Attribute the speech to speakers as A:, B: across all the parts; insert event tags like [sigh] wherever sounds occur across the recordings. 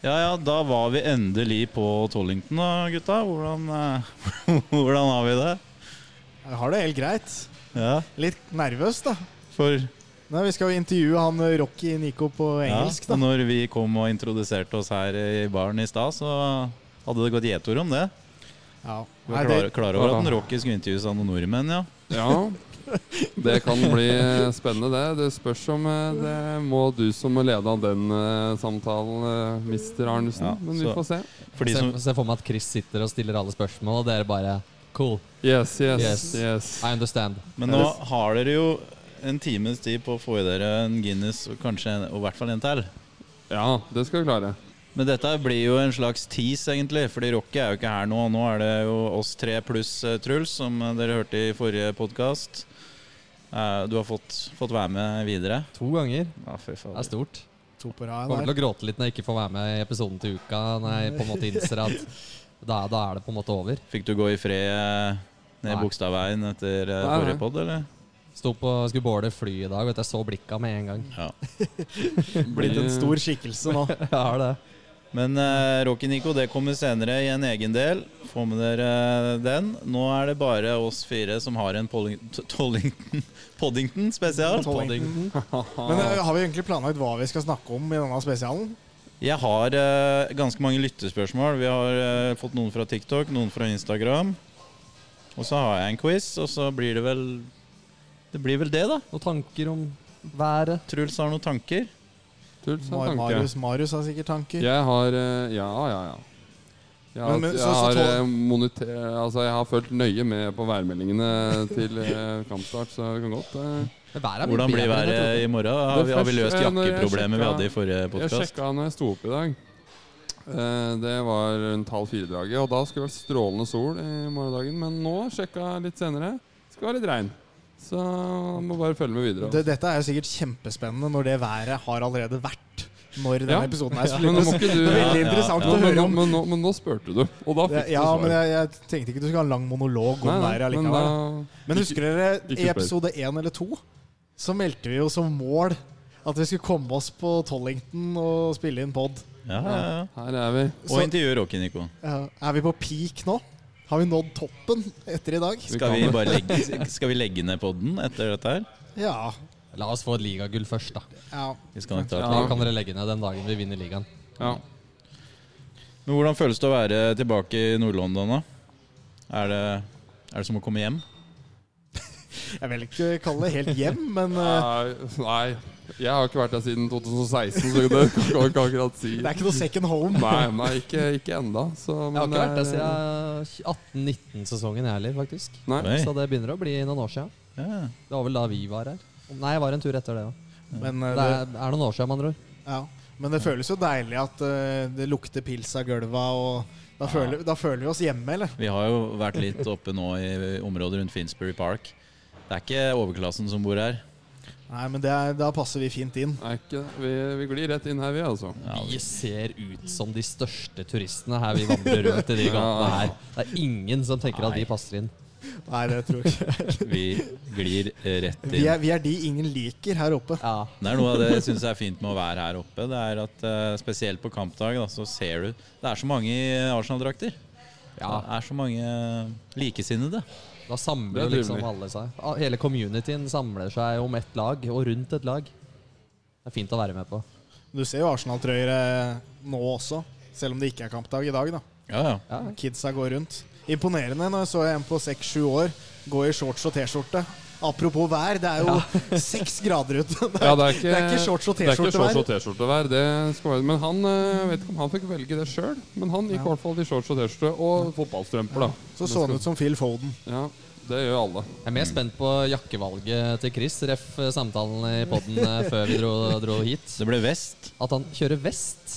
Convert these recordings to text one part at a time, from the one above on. A: Ja, ja, da var vi endelig på Tollington, da, gutta. Hvordan, eh, [laughs] hvordan har vi det?
B: Jeg har det helt greit.
A: Ja,
B: Litt nervøs, da.
A: for
B: Nei, Vi skal jo intervjue han eh, Rocky Nico på
A: ja,
B: engelsk,
A: og
B: da.
A: når vi kom og introduserte oss her i baren i stad, så hadde det gått gjetord om det.
B: Ja.
A: Du
B: Nei,
A: var
B: det,
A: klar, klar over at den Rocky skulle intervjues av noen nordmenn, ja.
C: Ja, det kan bli eh, spennende, det. Det spørs om eh, det må du som må lede av den eh, samtalen, eh, mister Arnesen.
A: Ja,
C: Men vi
A: så-
C: får se.
A: For de
D: se,
A: som,
D: se for meg at Chris sitter og stiller alle spørsmål, og dere bare Cool,
C: Yes, yes, yes.
D: Yes. I understand.
A: men nå har dere jo en times tid på å få i dere en Guinness og kanskje en, og i hvert fall en til.
C: Ja, det skal vi klare.
A: Men dette blir jo en slags tease, egentlig. Fordi Rocky er jo ikke her nå. Nå er det jo oss tre pluss eh, Truls, som eh, dere hørte i forrige podkast. Eh, Du har fått, fått være med videre. Altså,
D: To ganger.
A: Ja, fy
D: Det er
A: fader.
D: stort.
B: to på rad
D: Kommer
B: der.
D: til å gråte litt når jeg ikke får være med i episoden til uka. Når jeg på en måte innser at da, da er det på en måte over.
A: Fikk du gå i fred eh, ned
D: Nei.
A: Bogstadveien etter eh,
C: Nei, nei.
A: forrige pod, eller?
D: Sto på, skulle boarde fly i dag, vet du, jeg så blikka med en gang.
A: Ja.
B: Blitt en stor skikkelse
D: [laughs]
B: nå.
D: Jeg har det.
A: Men eh, Rocky Nico, det kommer senere i en egen del. Få med dere eh, den. Nå er det bare oss fire som har en Polling- T- Tollington [laughs] Poddington spesial.
B: Poddington. Men eh, har vi egentlig planlagt hva vi skal snakke om i denne spesialen?
A: Jeg har eh, ganske mange lyttespørsmål. Vi har eh, fått noen fra TikTok, noen fra Instagram. Og så har jeg en quiz, og så blir det vel Det blir vel det, da.
D: Noen tanker om været?
A: Truls har noen tanker.
C: Truls har
B: Mar
C: tanke.
B: Marius, Marius har sikkert tanker.
C: Jeg har eh, Ja, ja, ja. Jeg har,
B: Men- men så-
C: jeg,
B: så
C: har,
B: tål-
C: eh, moniter, altså jeg har følt nøye med på værmeldingene til eh, kampstart, så vi kan godt eh,
D: Men været er mye
A: Hvordan blir
D: bedre enn jeg
A: været i morgen? Har vi, har vi løst
C: Det første, eh, når jeg
A: jakkeproblemet vi
C: sjekka-
A: hadde i forrige
C: Jeg
A: podkast?
C: sjekka når jeg sto opp i dag. Eh, Det var rundt halv fire-draget, og da skulle det være strålende sol i morgendagen. Men nå sjekka jeg litt senere. Skal være litt regn. Så må bare følge med videre.
B: Det, dette er jo sikkert kjempespennende når det været har allerede vært. Når denne
C: Ja.
B: episoden her
C: altså. Men nå
B: slippes.
C: må ikke du
B: Det er
A: Ja, ja,
B: veldig interessant
A: ja.
C: Nå-
B: å
C: men,
B: høre
C: nå,
B: om.
C: men, nå, men nå spurte du, og da fikk
B: Ja,
C: du
B: men
C: svar.
B: jeg, jeg tenkte ikke du skulle ha en lang monolog om
C: Nei, nei,
B: været
C: men eh,
B: allikevel.
C: da-
B: Men husker dere
C: ikke
B: i
C: spør.
B: episode én eller to? Så meldte vi jo som mål at vi skulle komme oss på Tollington og spille inn pod.
A: Ja, ja, ja.
C: her er vi.
A: Og intervjue Rocky Nico.
B: Ja, er vi på peak nå? Har vi nådd toppen etter i dag?
A: Skal vi, bare legge, skal vi legge ned podden etter dette her?
B: Ja.
D: trodde. La oss få et ligagull først, da.
B: ja.
A: Vi skal nok ta
C: Ja.
A: det.
D: Da kan dere legge ned den dagen vi vinner ligaen.
C: Ja.
A: Men hvordan føles det å være tilbake i Nord-London, da? Er det, er det som å komme hjem?
B: Jeg vil ikke kalle det helt hjem, men eh,
C: Nei, nei, jeg har ikke vært der siden 2016, så det kan jeg ikke akkurat si.
B: det er ikke noe second home.
C: Nei, nei ikke, ikke enda. Så,
D: Jeg har
C: men
D: ikke vært
C: det
D: der
C: er-
D: siden 18-19-sesongen, jeg heller, faktisk.
C: Nei.
A: Oi.
D: Så det begynner å bli noen år siden.
A: Ja.
D: Det var vel da vi var her. Nei, jeg var en tur etter det òg.
B: Men, eh,
D: Det
B: det,
D: er, er noen år siden, med andre ord.
B: ja. men det føles jo deilig at eh, det lukter pils av gulva, og da føler, da føler vi oss hjemme, eller?
A: Vi har jo vært litt oppe nå i området rundt Finsbury Park. Det er ikke overklassen som bor her.
B: Nei, men det er, da passer vi fint inn.
C: Nei, ikke, vi, vi glir rett inn her, vi, altså.
A: Ja,
D: Vi ser ut som de største turistene her vi vandrer rundt i de gatene her. Det er ingen som tenker at vi passer inn.
B: Nei, det tror jeg ikke.
A: vi glir rett
B: Vi
A: inn.
B: er, vi er de ingen liker her oppe.
D: Ja.
A: Det er noe av det jeg syns er fint med å være her oppe. Det er at eh, Spesielt på kampdag, da, så ser du Det er så mange i Arsenal-drakter.
D: ja.
A: Det er så mange likesinnede.
D: Da
C: Det
D: samler
C: er
D: jo liksom
C: trivelig.
D: alle seg. Ah, Hele communityen samler seg om ett lag, og rundt et lag. Det er fint å være med på.
B: Du ser jo Arsenal-trøyer eh, nå også, selv om det ikke er kampdag i dag, da.
A: Ja, ja.
D: Ja.
B: Kidsa går rundt. Imponerende når jeg så en på 6-7 år gå i shorts og T-skjorte. Apropos vær, det er jo [laughs] seks grader ute. Det er,
C: Ja, det, er ikke,
B: det er ikke shorts og
C: det er ikke
B: T-skjorte
C: shorts og T-skjortevær. det skal være- Men han eh, jeg vet ikke om han fikk velge det sjøl. Men han gikk i hvert fall i shorts og T-skjorte og fotballstrømper, da.
B: Så så han ut som Phil Foden.
C: Ja, det gjør alle.
D: Jeg er mer spent på jakkevalget til Chris, ref samtalen i poden [laughs] før vi dro, dro hit.
A: Det ble vest.
D: At han kjører vest.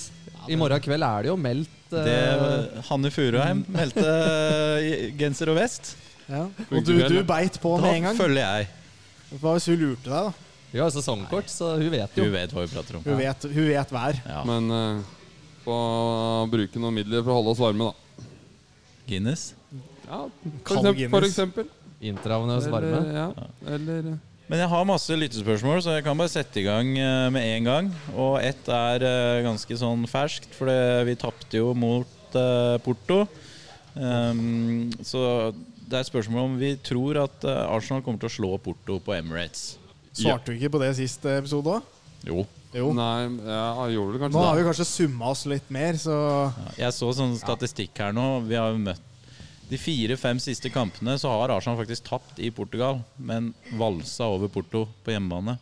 D: I morgen kveld er det jo meldt eh,
A: Det, Hanne Furuheim meldte eh, genser og vest.
B: Og du, du beit på
A: Da
B: med en gang.
A: følger jeg.
B: Det var hvis hun lurte deg, da.
D: Vi har jo sesongkort, så hun vet
A: Du
D: jo.
A: vet hva vi prater om.
B: Hun vet, hun vet vær.
A: Ja.
C: Men eh, få bruke noen midler for å holde oss varme, da.
A: Guinness.
C: Ja, for
B: Kald
C: eksempel. For
B: Guinness.
C: eksempel.
D: Intravenøs varme.
C: Eller, eh, ja. Eller
A: Men jeg har masse lyttespørsmål, så jeg kan bare sette i gang eh, med en gang. Og ett er eh, ganske sånn ferskt, for det- vi tapte jo mot eh, Porto. Ehm, så det er spørsmål om vi tror at eh, Arsenal kommer til å slå Porto på Emirates.
B: Svarte du ikke på det sist episode òg?
A: Jo.
B: Jo.
C: Nei, ja, gjorde du kanskje
B: Oh. Nå har vi
C: det?
B: kanskje summa oss litt mer, så
A: Jeg så sånn statistikk her nå. Vi har jo møtt de fire-fem siste kampene så har Arsenal faktisk tapt i Portugal, men valsa over Porto på hjemmebane.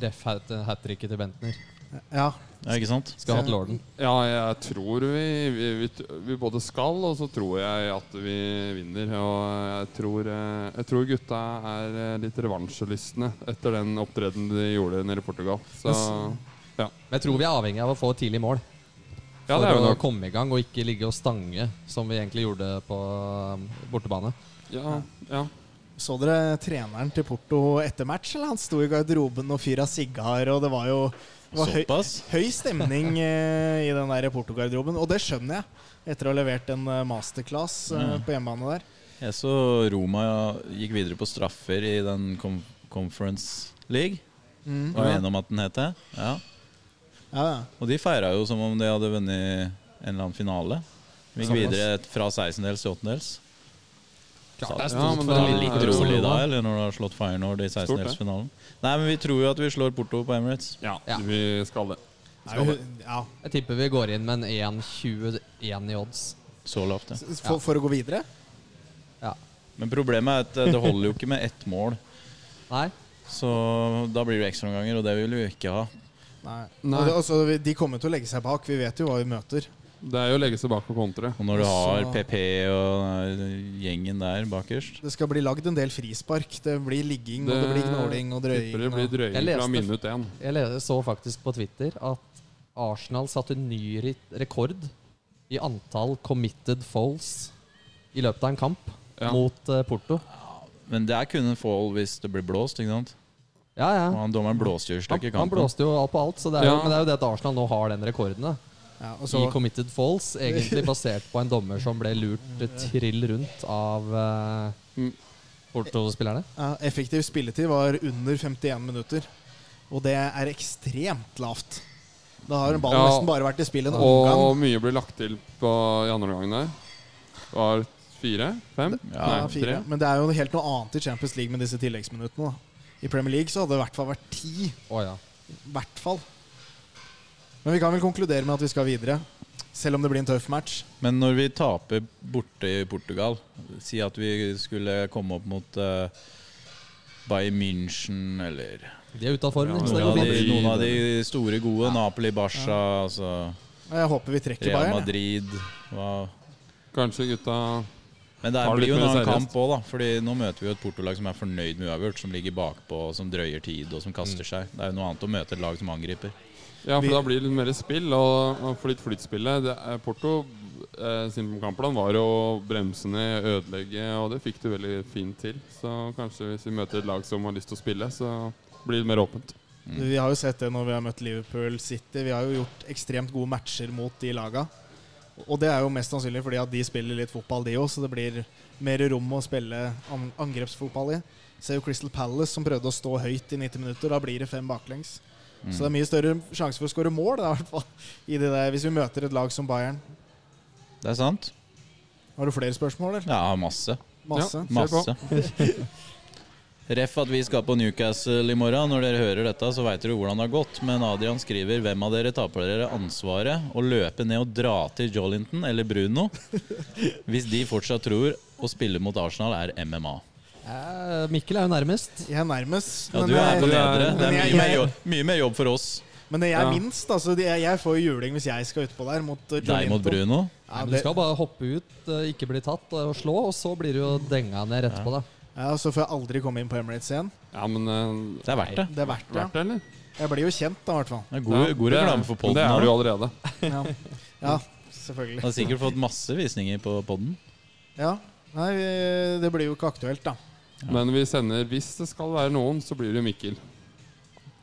D: Ref hat tricket til Bentner.
B: ja.
A: Ja, ikke sant?
D: Skal ha hatt lorden.
C: Ja, jeg tror vi, vi, vi, vi både skal, og så tror jeg at vi vinner. Og jeg tror, eh, jeg tror gutta er eh, litt revansjelystne etter den opptredenen de gjorde nede i Portugal. Så ja.
D: Men jeg tror vi er avhengig av å få et tidlig mål
C: ja,
D: for
C: det er jo
D: å
C: nok.
D: komme i gang, og ikke ligge og stange som vi egentlig gjorde på um, bortebane.
C: Ja, ja.
B: Så dere treneren til Porto etter match? Eller han sto i garderoben og fyra sigar, og det var jo det var høy,
A: Såpass?
B: høy stemning eh, i den der Porto-garderoben. Og det skjønner jeg, etter å ha levert en eh, masterclass eh, på hjemmebane der.
A: Jeg så Roma gikk videre på straffer i den com Conference League. Var jeg enig om at den het det? Ja.
B: Ja, ja.
A: Og de feira jo som om de hadde vunnet en eller annen finale. De Gikk
B: Såpass.
A: videre fra 16-dels til 8-dels.
D: Klart det er
C: Ja,
D: stort
C: men
D: for
C: da-
D: en
A: Det er
D: liten
A: Litt
C: det
D: klubb.
A: rolig da, eller når du har slått Feyenoord i
C: Stort, det.
A: 16-delsfinalen. Nei, men vi tror jo at vi slår Porto på Emirates.
C: ja,
D: Ja.
C: vi skal det.
B: Er jo hun- ja.
D: Jeg tipper vi går inn med en 1,21 i odds.
A: Så lavt, ja.
B: For, for å gå videre?
D: Ja.
A: Men problemet er at eh, det holder jo ikke med ett mål.
D: Nei?
A: Så da blir det ekstraomganger, og det vil vi jo ikke ha.
B: Nei.
C: Nei.
B: Og det, og så vi- de kommer til å legge seg bak. Vi vet jo hva vi møter.
C: Det er jo å legge seg bak og kontre.
A: Og når du har
B: Så-
A: PP og eh, gjengen der bakerst
B: Det skal bli lagd en del frispark. Det blir ligging, og det blir gnåling og drøying.
C: Tipper det blir
B: og-
C: drøying
D: Jeg
C: fra
D: leste-
C: minutt én.
D: Jeg le- så faktisk på Twitter at Arsenal satte ny ri- rekord i antall committed falls i løpet av en kamp
C: Ja.
D: mot eh, Porto.
A: Men der kunne en fall hvis det blir blåst, ikke sant?
D: Ja, ja.
A: Og han dommeren blåste jo i
D: Han,
A: stykker
D: han
A: kampen.
D: blåste jo alt på alt, så det er jo,
C: Ja.
D: men det er jo det at Arsenal nå har den rekorden. da.
B: Ja, og
D: I
B: så,
D: committed falls, egentlig basert på en dommer som ble lurt trill rundt av eh,
C: Mm.
D: Porto-spillerne.
B: ja, effektiv spilletid var under 51 minutter. Og det er ekstremt lavt. Da har ballen
C: Ja,
B: nesten bare vært i spill en omgang.
C: Og mye blir lagt til på, i andre omgang der. Var fire? Fem?
A: Ja,
B: Ja,
C: Nei,
B: fire.
C: tre.
B: Men det er jo helt noe annet i Champions League med disse tilleggsminuttene. Da. I Premier League så hadde det i hvert fall vært ti.
D: Å ja.
B: I hvert fall. Men vi kan vel konkludere med at vi skal videre. Selv om det blir en tøff match.
A: Men når vi taper borte i Portugal Si at vi skulle komme opp mot eh, Bayern München eller
D: De er ute av form,
C: Ja,
D: så det
A: noen av,
D: går
A: de,
D: fint.
A: noen av de store gode. Napoli, Barca, altså
B: Og Jeg håper vi trekker
A: Real
B: Bayern. jeg.
A: Madrid. Hva.
C: Kanskje gutta
A: Men det
C: Tar det
A: blir jo
C: litt
A: en annen
C: mer seriøst.
A: kamp òg, da. Fordi nå møter vi jo et Porto-lag som er fornøyd med uavgjort, som ligger bakpå, som drøyer tid og som kaster seg. Det er jo noe annet å møte et lag som angriper.
C: Ja, for
B: Vi-
C: da blir det litt mer spill. Og, og for litt flyttspillet det, er- Porto eh, sin kampplan var å bremse ned, ødelegge, og det fikk du veldig fint til. Så kanskje hvis vi møter et lag som har lyst til å spille, så blir det mer åpent.
A: Mm.
B: Vi har jo sett det når vi har møtt Liverpool City. Vi har jo gjort ekstremt gode matcher mot de laga. Og det er jo mest sannsynlig fordi at de spiller litt fotball, de òg, så det blir mer rom å spille an- angrepsfotball i. Ser jo Crystal Palace som prøvde å stå høyt i 90 minutter. Da blir det fem baklengs.
A: Mm.
B: Så det er mye større sjanse for å skåre mål da, i hvert fall, i det der, hvis vi møter et lag som Bayern.
A: Det er sant?
B: Har du flere spørsmål, eller?
A: Ja, masse.
B: Masse.
C: Ja. Kjør på.
A: Masse. Ref at vi skal på Newcastle i morgen. Når dere hører dette, så veit dere hvordan det har gått. Men Adrian skriver 'Hvem av dere tar på dere ansvaret å løpe ned og dra til Jolinton eller Bruno' hvis de fortsatt tror å spille mot Arsenal er MMA?
D: Eh, Mikkel er jo nærmest.
B: Jeg er nærmest,
A: Ja,
B: men,
A: du er på
B: jeg,
A: nedre. Det er
B: men jeg-
A: mye mer jobb, mye mer jobb for oss.
B: men jeg er
C: Ja.
B: minst. Altså, jeg, jeg får jo juling hvis jeg skal utpå der mot uh,
A: Deg mot
B: Jolinton.
A: Bruno.
B: Ja,
D: Nei, men du
B: det-
D: skal bare hoppe ut, eh, ikke bli tatt eh, og slå, og så blir du jo denga ned etterpå. da
B: Ja, og Så får jeg aldri komme inn på Emirates igjen.
C: Ja, men eh,
A: Det er verdt det.
B: Det er verdt det.
C: Verdt det, eller?
B: Jeg blir jo kjent, da, i hvert fall.
A: det er god,
C: Ja,
A: god
C: det er-
A: reklame for
C: men Det er du
A: poden.
C: jo allerede.
B: Ja, ja
A: Har
B: selvfølgelig.
A: sikkert fått masse visninger på poden.
B: Ja. Nei, vi- det blir jo ikke aktuelt, da.
C: Men vi sender Hvis det skal være noen, så blir det Mikkel.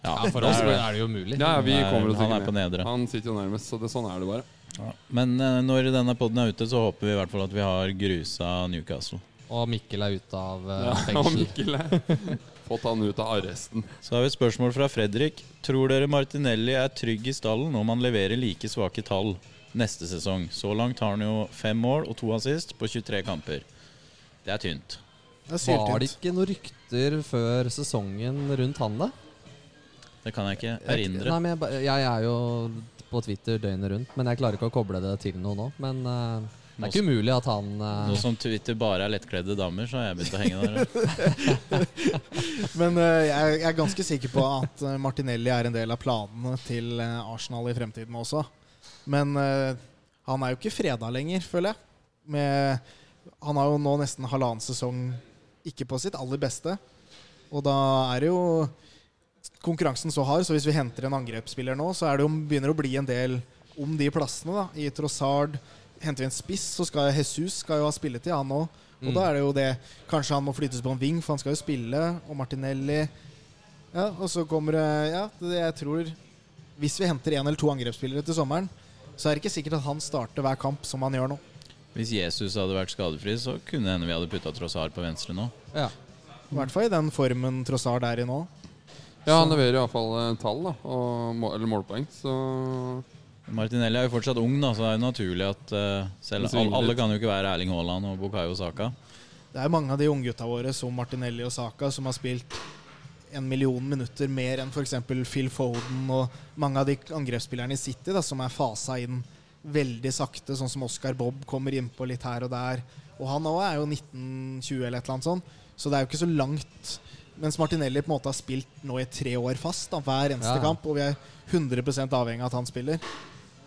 A: Ja,
D: Ja, For
A: det
D: oss
A: er det.
D: er det jo umulig.
C: Ja, vi
A: Han er-
C: kommer oss
A: han
C: ikke
A: er på
C: med.
A: nedre.
C: Han sitter jo nærmest, så det, sånn er det bare.
A: Men eh, når denne poden er ute, så håper vi i hvert fall at vi har grusa Newcastle.
D: Og Mikkel er ute av eh,
C: Ja, og
D: fengsel.
C: Mikkel er Fått han ut av arresten.
A: Så har vi et spørsmål fra Fredrik. Tror dere Martinelli er trygg i stallen om han leverer like svake tall neste sesong? Så langt har han jo fem mål og to assist på 23 kamper. Det er tynt.
B: Det er
D: Var det
B: syltynt.
D: ikke noen rykter før sesongen rundt han, da?
A: Det kan jeg ikke
D: Jeg- Nei,
A: erindre.
D: men jeg, ba- jeg er jo på Twitter døgnet rundt, men jeg klarer ikke å koble det til noe nå. Men eh, det er ikke umulig at han eh,
A: Nå som Twitter bare er lettkledde damer, så har jeg begynt å henge der.
B: Men eh, jeg, jeg er ganske sikker på at eh, Martinelli er en del av planene til eh, Arsenal i fremtiden også. Men eh, han er jo ikke freda lenger, føler jeg. Med, han har jo nå nesten halvannen sesong ikke på sitt aller beste. Og da er det jo konkurransen så hard, så hvis vi henter en angrepsspiller nå, så er det jo, begynner det å bli en del om de plassene. da, I Trossard henter vi en spiss, så skal Jesus skal jo ha spilletid, han òg. Og
D: Mm.
B: da er det jo det Kanskje han må flyttes på en ving, for han skal jo spille. Og Martinelli Ja, og så kommer det Ja, det jeg tror Hvis vi henter én eller to angrepsspillere til sommeren, så er det ikke sikkert at han starter hver kamp som han gjør nå.
A: Hvis Jesus hadde vært skadefri, så kunne det hende vi hadde putta Trossard på venstre nå.
D: ja.
B: I hvert fall i den formen Trossard er i nå.
C: Ja, han leverer iallfall eh, tall, da. Og, må- eller målpoeng. Så
A: Martinelli er jo fortsatt ung, da, så det er jo naturlig at eh, selv,
C: Det svinger
A: alle, alle
C: litt.
A: kan jo ikke være Erling Haaland og Bukayo Saka.
B: Det er mange av de unggutta våre, som Martinelli og Saka, som har spilt en million minutter mer enn f.eks. Phil Foden og mange av de angrepsspillerne i City, da, som er fasa inn veldig sakte, sånn som Oscar Bob kommer innpå litt her og der. Og han òg er jo 1920 eller et eller annet sånt, så det er jo ikke så langt. Mens Martinelli på en måte har spilt nå i tre år fast, da, hver eneste
D: Ja, ja.
B: kamp, og vi er 100 avhengig av at han spiller.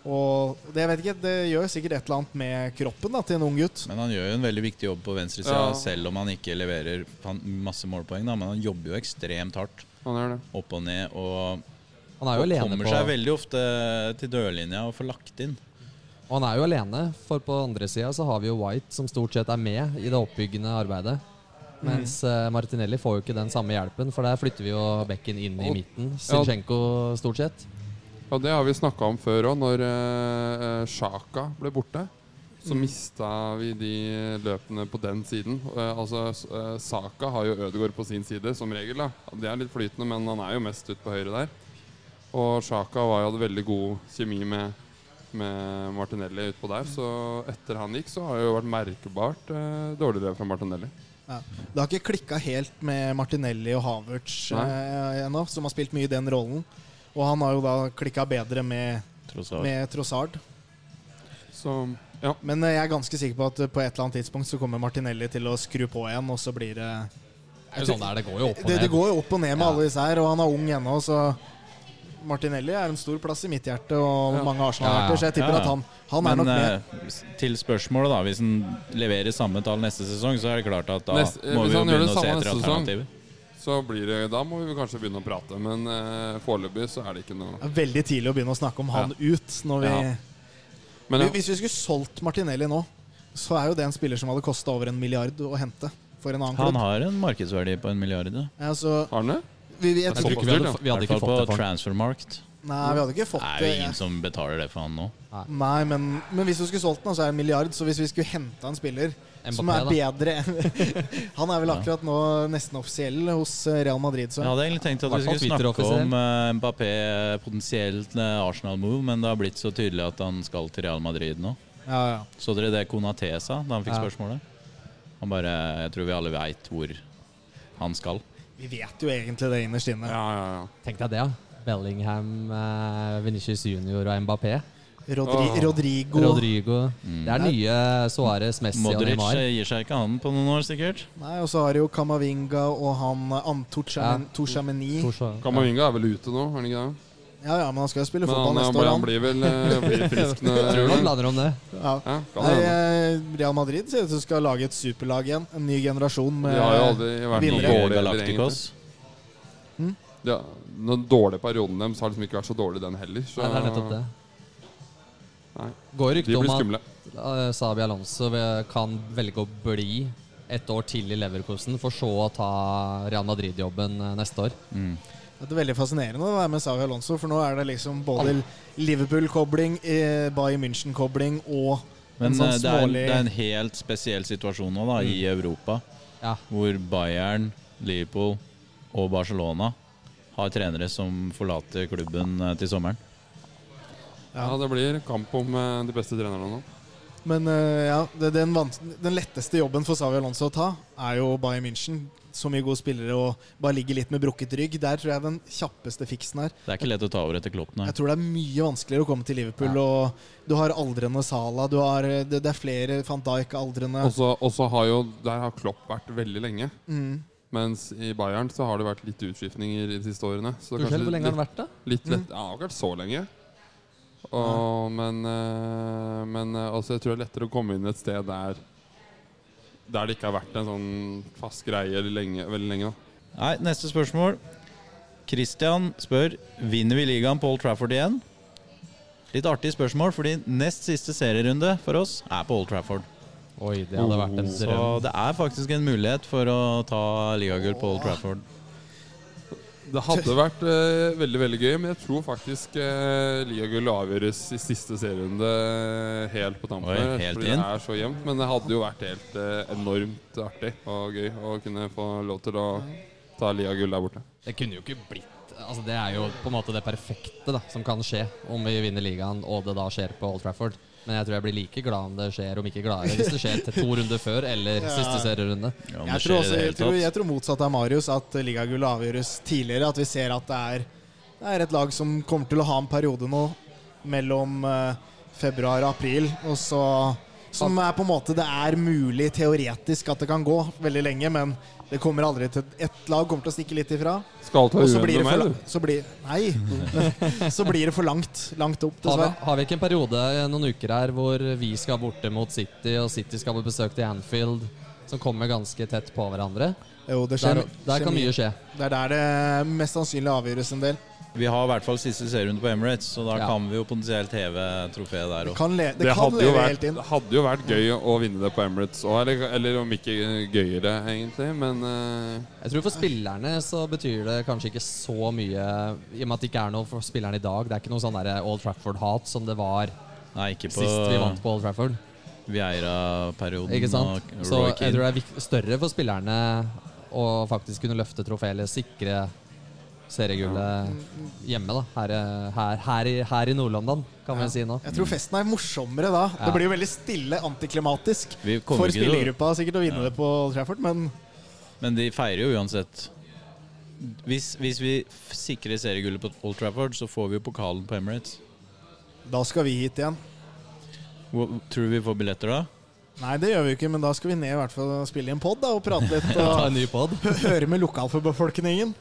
B: Og det, jeg vet ikke, det gjør sikkert et eller annet med kroppen da, til en ung gutt.
A: Men han gjør jo en veldig viktig jobb på venstresida,
C: Ja.
A: selv om han ikke leverer han, masse målpoeng. Da, men han jobber jo ekstremt hardt
C: han gjør det.
A: opp og ned og,
D: Han er jo
A: og
D: alene
A: kommer
D: på
A: seg veldig ofte til dørlinja og får lagt inn.
D: Og han er jo alene, for på andre sida så har vi jo White, som stort sett er med i det oppbyggende arbeidet. Mens eh, Martinelli får jo ikke den samme hjelpen, for der flytter vi jo bekken inn i
C: Og-
D: midten. Zinchenko stort sett.
C: Og det har vi snakka om før òg, når eh, eh, Sjaka ble borte. Så mista vi de løpene på den siden. Eh, altså, s- eh, Saka har jo Ødegaard på sin side, som regel. da Det er litt flytende, men han er jo mest ut på høyre der. Og Sjaka var jo hadde veldig god kjemi med, med Martinelli utpå der. Så etter han gikk, så har det jo vært merkbart eh, dårligere fra Martinelli.
B: Ja. Det har ikke klikka helt med Martinelli og Havertz
C: Nei.
B: eh, ennå, som har spilt mye i den rollen. Og han har jo da klikka bedre med,
A: Tross alt.
B: med Trossard.
C: Så ja.
B: Men eh, jeg er ganske sikker på at eh, på et eller annet tidspunkt så kommer Martinelli til å skru på igjen, og så blir det
D: Det er jo sånn det er, det går jo opp og
B: Det, det
D: ned.
B: går jo opp og ned med
D: Ja.
B: alle disse her, og han er ung ennå, så Martinelli er en stor plass i mitt hjerte og
C: Ja.
B: mange
D: Ja, ja.
B: Arsenal-hjerter, så jeg tipper
A: Ja, ja.
B: at han, han er
A: Men
B: nok med.
A: eh, s- til spørsmålet, da. Hvis han leverer samme tall neste sesong, så er det klart at da
C: Neste- eh,
A: må
C: hvis
A: vi jo
C: han gjør det
A: begynne å se
C: samme
A: etter
C: neste sesong.
A: alternativer.
C: Så blir det Da må vi vel kanskje begynne å prate, men eh, foreløpig så er det ikke noe
B: Det er veldig tidlig å begynne å snakke om han ut når vi
C: Ja. Men
B: Men Hvis vi skulle solgt Martinelli nå, så er jo det en spiller som hadde kosta over en milliard å hente for en annen
A: Han
B: klubb.
A: har en markedsverdi på en milliard. ja.
B: Altså,
C: har han det?
B: vi, vi, jeg
D: Jeg
B: tror,
D: tror ikke vi hadde, vi
A: I
D: hadde
A: hvert fall
D: ikke fått det
A: på
D: for ham.
A: transfermarkt.
B: nei, vi hadde ikke
A: Det
B: fått
A: er
B: det.
A: jo ingen som betaler det for han nå.
B: Nei, men, men hvis du skulle solgt den, så er det en milliard. Så hvis vi skulle henta en spiller som er
D: Mbappé, da.
B: bedre enn [laughs] Han er vel
A: Ja.
B: akkurat nå nesten offisiell hos eh, Real Madrid, så
A: Jeg hadde egentlig tenkt at vi
D: Hvertfall
A: skulle snakke
D: Twitter-offisiell.
A: om eh, Mbappé eh, potensielt eh, Arsenal-move, men det har blitt så tydelig at han skal til Real Madrid nå.
B: ja, ja.
A: Så dere det Konaté sa da han fikk
D: Ja.
A: spørsmålet? Han bare Jeg tror vi alle veit hvor han skal.
B: Vi vet jo egentlig det innerst inne.
C: Ja, ja, ja.
D: Tenk deg det, ja. Bellingham, eh, Vinicius Junior og Mbappé.
B: Rodri,
C: Åh.
B: Rodrigo
D: Rodrigo.
C: Mm.
D: Det er nye Suárez, Messi og
A: Modric
D: Neymar.
A: eh, gir seg ikke han på noen år, sikkert.
B: Nei, Og så har du jo Kamavinga og han eh, Antorchameni. Torchameni
D: Torsa-
C: Kamavinga er vel ute nå, er han ikke det?
B: Ja, ja, men han skal jo spille
C: Men
B: fotball
C: han, han,
B: neste
C: blir-
B: år,
C: han
B: han.
C: blir vel eh, blir frisk nå.
D: Jeg tror han lander om det.
B: Ja.
C: Ja, kan
B: Nei,
C: hende.
B: eh, Real Madrid ser ut som skal lage et superlag igjen. En ny generasjon
C: De
B: med
C: har jo aldri vært noe
B: Vinnere.
C: dårligere.
A: Galacticos.
C: egentlig. Ja, den dårlige perioden deres har liksom ikke vært så dårlig, den heller. Så
D: Nei, det er nettopp det.
C: Nei.
D: Går
C: De
D: rykte
C: blir
D: om at
C: skumle.
D: Eh, Sabi Alonso eh, kan velge å bli et år til i Leverkusen, for så å ta Real Madrid-jobben eh, neste år.
A: Mm.
B: Det er veldig fascinerende å være med Savi Alonso, for nå er det liksom både Liverpool-kobling, eh, Bayern München-kobling og
A: Men
B: En sånn
A: eh, det, er,
B: smålig- Mm.
A: det er en helt spesiell situasjon nå, da, i Europa,
D: Ja.
A: hvor Bayern, Liverpool og Barcelona har trenere som forlater klubben eh, til sommeren.
C: Ja, det blir kamp om eh, de beste trenerne nå.
B: Men eh, ja, det, den, vans- den letteste jobben for Savi Alonso å ta er jo Bayern München. Så mye gode spillere og bare ligge litt med brukket rygg. Der tror jeg den kjappeste fiksen er.
A: Det er ikke lett å ta over etter Klopp, nei.
B: Jeg tror det er mye vanskeligere å komme til Liverpool.
D: Ja.
B: Og du har aldrende Sala, du har, det, det er flere van Dijk aldrende.
C: Også, også har jo, Der har Klopp vært veldig lenge.
B: Mm.
C: Mens i Bayern så har det vært litt utskiftninger i de siste årene. Så
D: Tuchel, hvor lenge har han vært da?
C: Litt lett, ja, det har ikke vært så lenge. Og, men eh, men eh, altså, jeg tror det er lettere å komme inn et sted der Der det ikke har vært en sånn fast greie lenge, veldig lenge. Da.
A: Nei, Neste spørsmål. Christian spør vinner vi ligaen på Old Trafford igjen. Litt artig spørsmål, fordi nest siste serierunde for oss er på Old Trafford.
D: Oi, det hadde vært en
A: Så
D: drøm.
A: det er faktisk en mulighet for å ta ligagull på Old Trafford.
C: Det [laughs] hadde vært eh, veldig veldig gøy, men jeg tror faktisk uh, ligagullet avgjøres i siste serierunde eh, helt på tampen.
A: Oi,
C: her,
A: helt
C: fordi
A: inn?
C: det er så jevnt. Men det hadde jo vært helt eh, enormt artig og gøy å kunne få lov til å ta ligagull der borte.
D: Det kunne jo ikke blitt Altså Det er jo på en måte det perfekte da som kan skje om vi vinner ligaen og det da skjer på Old Trafford. Men jeg tror jeg blir like glad om det skjer, om ikke gladere, hvis det skjer til to runder før eller siste serierunde.
A: Ja, om det
B: Jeg,
A: skjer
B: tror
A: i
B: også,
A: det hele
B: jeg, tror,
A: tatt.
B: jeg tror motsatt av Marius, at ligagullet avgjøres tidligere. At vi ser at det er, det er et lag som kommer til å ha en periode nå mellom eh, februar og april. Og så, som er på en måte Det er mulig teoretisk at det kan gå veldig lenge, men det kommer aldri til Ett lag kommer til å stikke litt ifra,
C: Skal ta
B: og så
C: UM
B: blir det
C: med
B: for,
C: meg,
B: la-
C: du.
B: så blir, nei, [laughs] så blir det for langt. Langt opp,
D: Har vi,
B: dessverre.
D: har vi ikke en periode eh, noen uker her hvor vi skal borte mot City, og City skal på besøk til Anfield, som kommer ganske tett på hverandre?
B: Jo, det skjer,
D: Der, der kan mye skje.
B: Det er der det mest sannsynlig avgjøres en del.
A: Vi har i hvert fall siste serierunde på Emirates, så da
D: Ja.
A: kan vi jo potensielt heve trofeet der
B: Det
A: òg.
B: kan, le, det
C: Det
B: kan
C: hadde jo,
B: leve
C: vært,
B: helt inn.
C: det hadde jo vært gøy å vinne det på Emirates òg, eller, eller om ikke gøyere, egentlig. Men eh,
D: Jeg tror for spillerne så betyr det kanskje ikke så mye, i og med at det ikke er noe for spillerne i dag. Det er ikke noe sånn der Old Trafford-hat som det var
A: Nei, ikke på
D: sist vi vant på Old Trafford.
A: Vieira-perioden.
D: Ikke sant?
A: og
D: Så
A: Roy
D: jeg tror
A: Keane.
D: det er vik- større for spillerne å faktisk kunne løfte trofeet eller sikre seriegullet hjemme, da. Her, her, her, i, her i Nord-London, kan vi si nå.
B: Jeg tror festen er morsommere da.
D: Ja.
B: Det blir jo veldig stille, antiklimatisk.
A: Vi kommer
B: For
A: ikke til å-
B: spillergruppa sikkert å vinne det på Old Trafford, men
A: Men de feirer jo uansett. Hvis, hvis vi f- sikrer seriegullet på Old Trafford, så får vi jo pokalen på Emirates.
B: da skal vi hit igjen.
A: Hvor- Tror du vi får billetter da?
B: Nei, det gjør vi jo ikke, men da skal vi ned i hvert fall og spille i en pod da, og prate litt.
A: [laughs]
D: Ta
B: Og
D: en ny pod.
B: høre med lokalbefolkningen.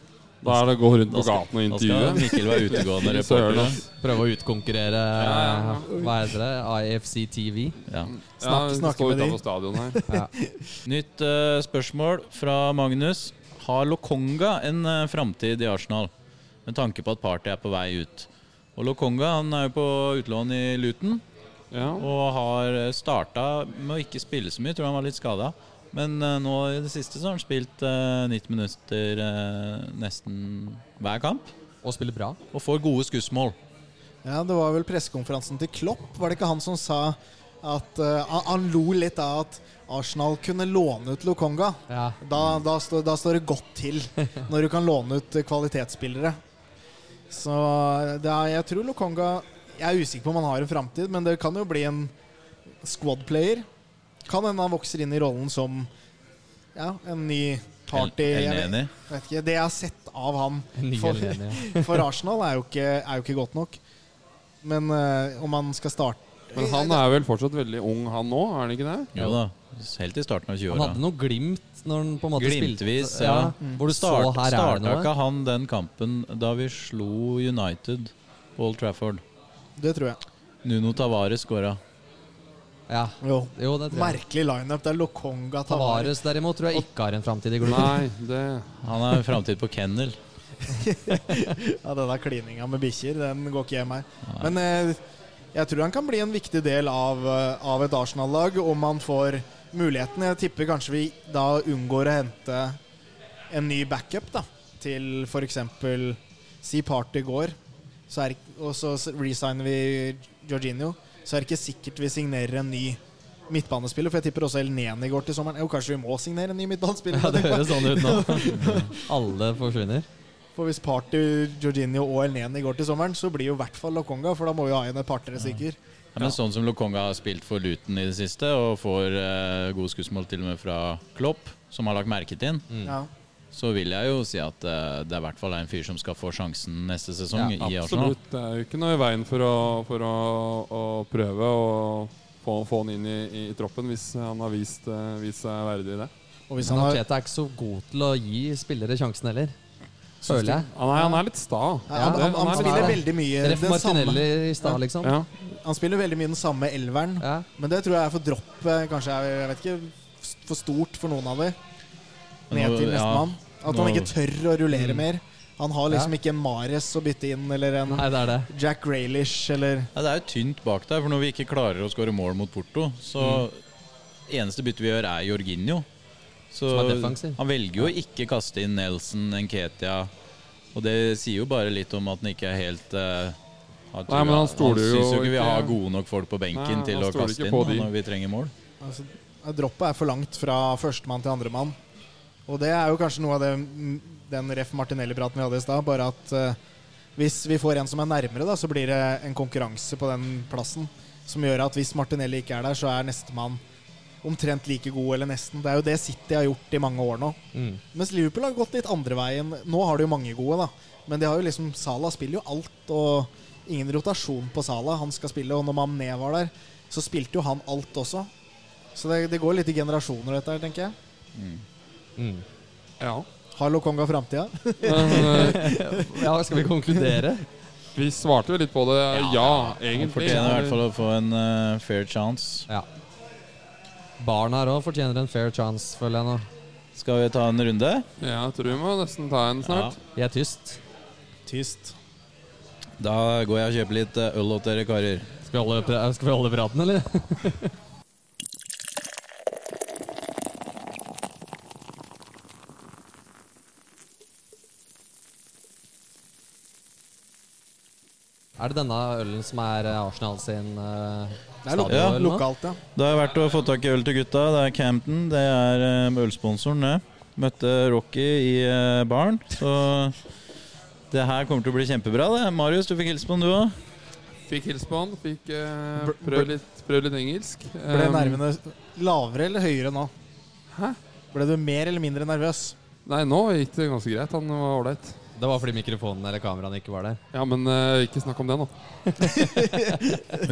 C: da er det å gå rundt
A: Da
C: på
A: skal-
C: gaten og
A: Da skal
C: intervjue.
A: Mikkel være
C: [laughs]
A: utegående
C: Fy
A: reporter.
C: søren,
A: da.
C: ass.
D: Prøve å utkonkurrere eh,
C: Ja, ja,
D: Hva heter det? IFC TV.
A: Ja.
B: Snakk-
C: ja,
B: snakke
C: stå
B: med de.
C: utenfor stadion her.
A: Nytt eh, spørsmål fra Magnus. Har Lokonga en uh, framtid i Arsenal, med tanke på at Party er på vei ut? Og Lokonga han er jo på utlån i Luton.
C: Ja.
A: Og har starta med å ikke spille så mye, tror han var litt skada. Men eh, nå i det siste så har han spilt eh, 90 minutter eh, nesten hver kamp.
D: Og spille bra.
A: Og får gode skussmål.
B: Ja, det var vel pressekonferansen til Klopp, var det ikke han som sa at eh, han- Han lo litt av at Arsenal kunne låne ut Lokonga.
D: Ja.
B: Da, da, står- da står det godt [laughs] til når du kan låne ut kvalitetsspillere. Så det er, jeg tror Lokonga Jeg er usikker på om han har en framtid, men det kan jo bli en squad-player. Kan hende han vokser inn i rollen som ja, en ny party.
A: El- El
B: Jeg vet,
A: Neni.
B: vet ikke, det jeg har sett av han
D: En ny
B: for,
D: Elneny,
B: for Arsenal, er jo, ikke, er jo ikke godt nok. Men eh, om han skal starte
C: Men han er vel fortsatt veldig ung, han nå? Er han ikke det?
A: Jo da, helt i starten av
D: Han hadde
A: 20-åra.
D: noe glimt når han på en måte
A: Glimtvis,
D: spilte.
A: ja.
C: Mm.
D: Hvor du så
A: Start,
D: her er det
A: starta
D: noe.
A: ikke han den kampen da vi slo United på Old Trafford?
B: Det tror jeg.
A: Nuno Tavares skåra.
D: Ja.
B: Jo.
D: Jo, det tror jeg.
B: Merkelig lineup. Det er Lokonga, Tavares
D: Tavares derimot tror jeg ikke har en framtid i Global.
C: Nei, det
A: Han har en framtid på kennel. [laughs]
B: Ja, den der klininga med bikkjer, den går ikke hjem her. Men eh, jeg tror han kan bli en viktig del av, eh, av et Arsenal-lag om han får muligheten. Jeg tipper kanskje vi da unngår å hente en ny backup da, til f.eks. Si Party går, så er, ikk- og så s- resigner vi Jorginho. Så er det ikke sikkert vi signerer en ny midtbanespiller, for jeg tipper også El Neni går til sommeren. Jo, kanskje vi må signere en ny midtbanespiller?
D: Ja, det høres sånn ut nå. Alle forsvinner.
B: For hvis Party, Jorginho og El Neni går til sommeren, så blir jo i hvert fall Lokonga, for da må vi ha igjen et par-tre stykker.
A: Ja, men sånn som Lokonga har spilt for Luton i det siste, og får eh, gode skussmål til og med fra Klopp, som har lagt merke til den,
B: Ja.
A: så vil jeg jo si at eh, det er i hvert fall en fyr som skal få sjansen neste sesong
D: Ja,
A: i Arsenal.
C: Absolutt. Det er jo ikke noe i veien for å, for å, å prøve å få, få han inn i, i troppen hvis han har vist, eh, vist seg verdig i det.
B: Og hvis
D: Men
B: han har
D: Arteta er ikke så god til å gi spillere sjansen heller, føler jeg.
C: Han er, han er litt sta.
B: Nei, han,
C: Det-
B: han, han,
C: er litt
B: spiller
C: sta.
B: veldig mye
D: Ref
B: den samme,
D: Martinelli i stad, liksom.
C: ja.
B: han spiller veldig mye den samme elveren,
D: Ja.
B: men det tror jeg er for dropp eh, Kanskje er jeg vet ikke, f- for stort for noen av dem.
A: Men
B: Ned
A: nå-
B: til
A: ja,
B: nestemann. At han
A: nå-
B: ikke tør å rullere
D: Mm.
B: mer. Han har liksom
D: Ja.
B: ikke en Mares å bytte inn, eller en
D: Nei, det er det.
B: Jack Graylish, eller
A: Ja, det er jo tynt bak der, for når vi ikke klarer å skåre mål mot Porto, så
C: Mm.
A: eneste byttet vi gjør, er Jorginho. Så
D: Som er defensiv.
A: han velger jo å ikke kaste inn Nelson, Nketia, og det sier jo bare litt om at han ikke er helt eh, har
C: Nei, men
A: trua.
C: han stoler jo
A: syns jo ikke vi
C: ikke-
A: har gode nok folk på benken
C: Nei,
A: til
C: han
A: å
C: stoler
A: kaste
C: ikke
A: inn
C: på
A: da,
C: de.
A: når vi trenger mål.
B: altså, Droppet er for langt fra førstemann til andremann. Og det er jo kanskje noe av det mm, den Ref Martinelli-praten vi hadde i stad. Bare at eh, hvis vi får en som er nærmere, da, så blir det en konkurranse på den plassen. Som gjør at hvis Martinelli ikke er der, så er nestemann omtrent like god, eller nesten. Det er jo det City har gjort i mange år nå.
D: Mm.
B: Mens Liverpool har gått litt andre veien. Nå har de jo mange gode, da. Men de har jo liksom Salah spiller jo alt, og ingen rotasjon på Salah. Han skal spille, og når Mané var der, så spilte jo han alt også. Så det, det går litt i generasjoner, dette her, tenker jeg.
D: Mm.
C: ja.
B: Har Lokonga framtida?
C: Men, eh,
D: Ja, skal vi
B: [laughs]
D: konkludere?
C: vi svarte vel litt på det. Ja,
A: Han
C: egentlig.
A: fortjener i hvert fall å få en eh, fair chance.
D: Ja. Barna her òg fortjener en fair chance, føler jeg nå.
A: Skal vi ta en runde?
C: Ja, jeg tror vi må nesten ta en snart.
D: Jeg er tyst.
B: Tyst.
A: Da går jeg og kjøper litt eh, øl åt dere karer.
D: Skal vi holde, pra- skal vi holde praten, eller? [laughs] Er det denne ølen som er eh, Arsenal sin uh,
B: Det er lo
A: Stadion,
B: ja, lokalt, ja.
A: Det har vært å få tak i øl til gutta. Det er Campton, det er eh, ølsponsoren, det. Møtte Rocky i eh, baren, så det her kommer til å bli kjempebra, det. Marius, du fikk hilse på han, du òg.
C: Fikk hilse på han. Fikk eh,
B: Bl- bl-
C: prøvd litt, prøvd litt engelsk.
B: Ble
C: Um,
B: nervene lavere eller høyere nå?
C: Hæ?
B: Ble du mer eller mindre nervøs?
C: Nei, nå gikk det ganske greit. Han var ålreit.
D: Det var fordi mikrofonen eller kameraene ikke var der.
C: Ja, men eh, ikke snakk om det nå.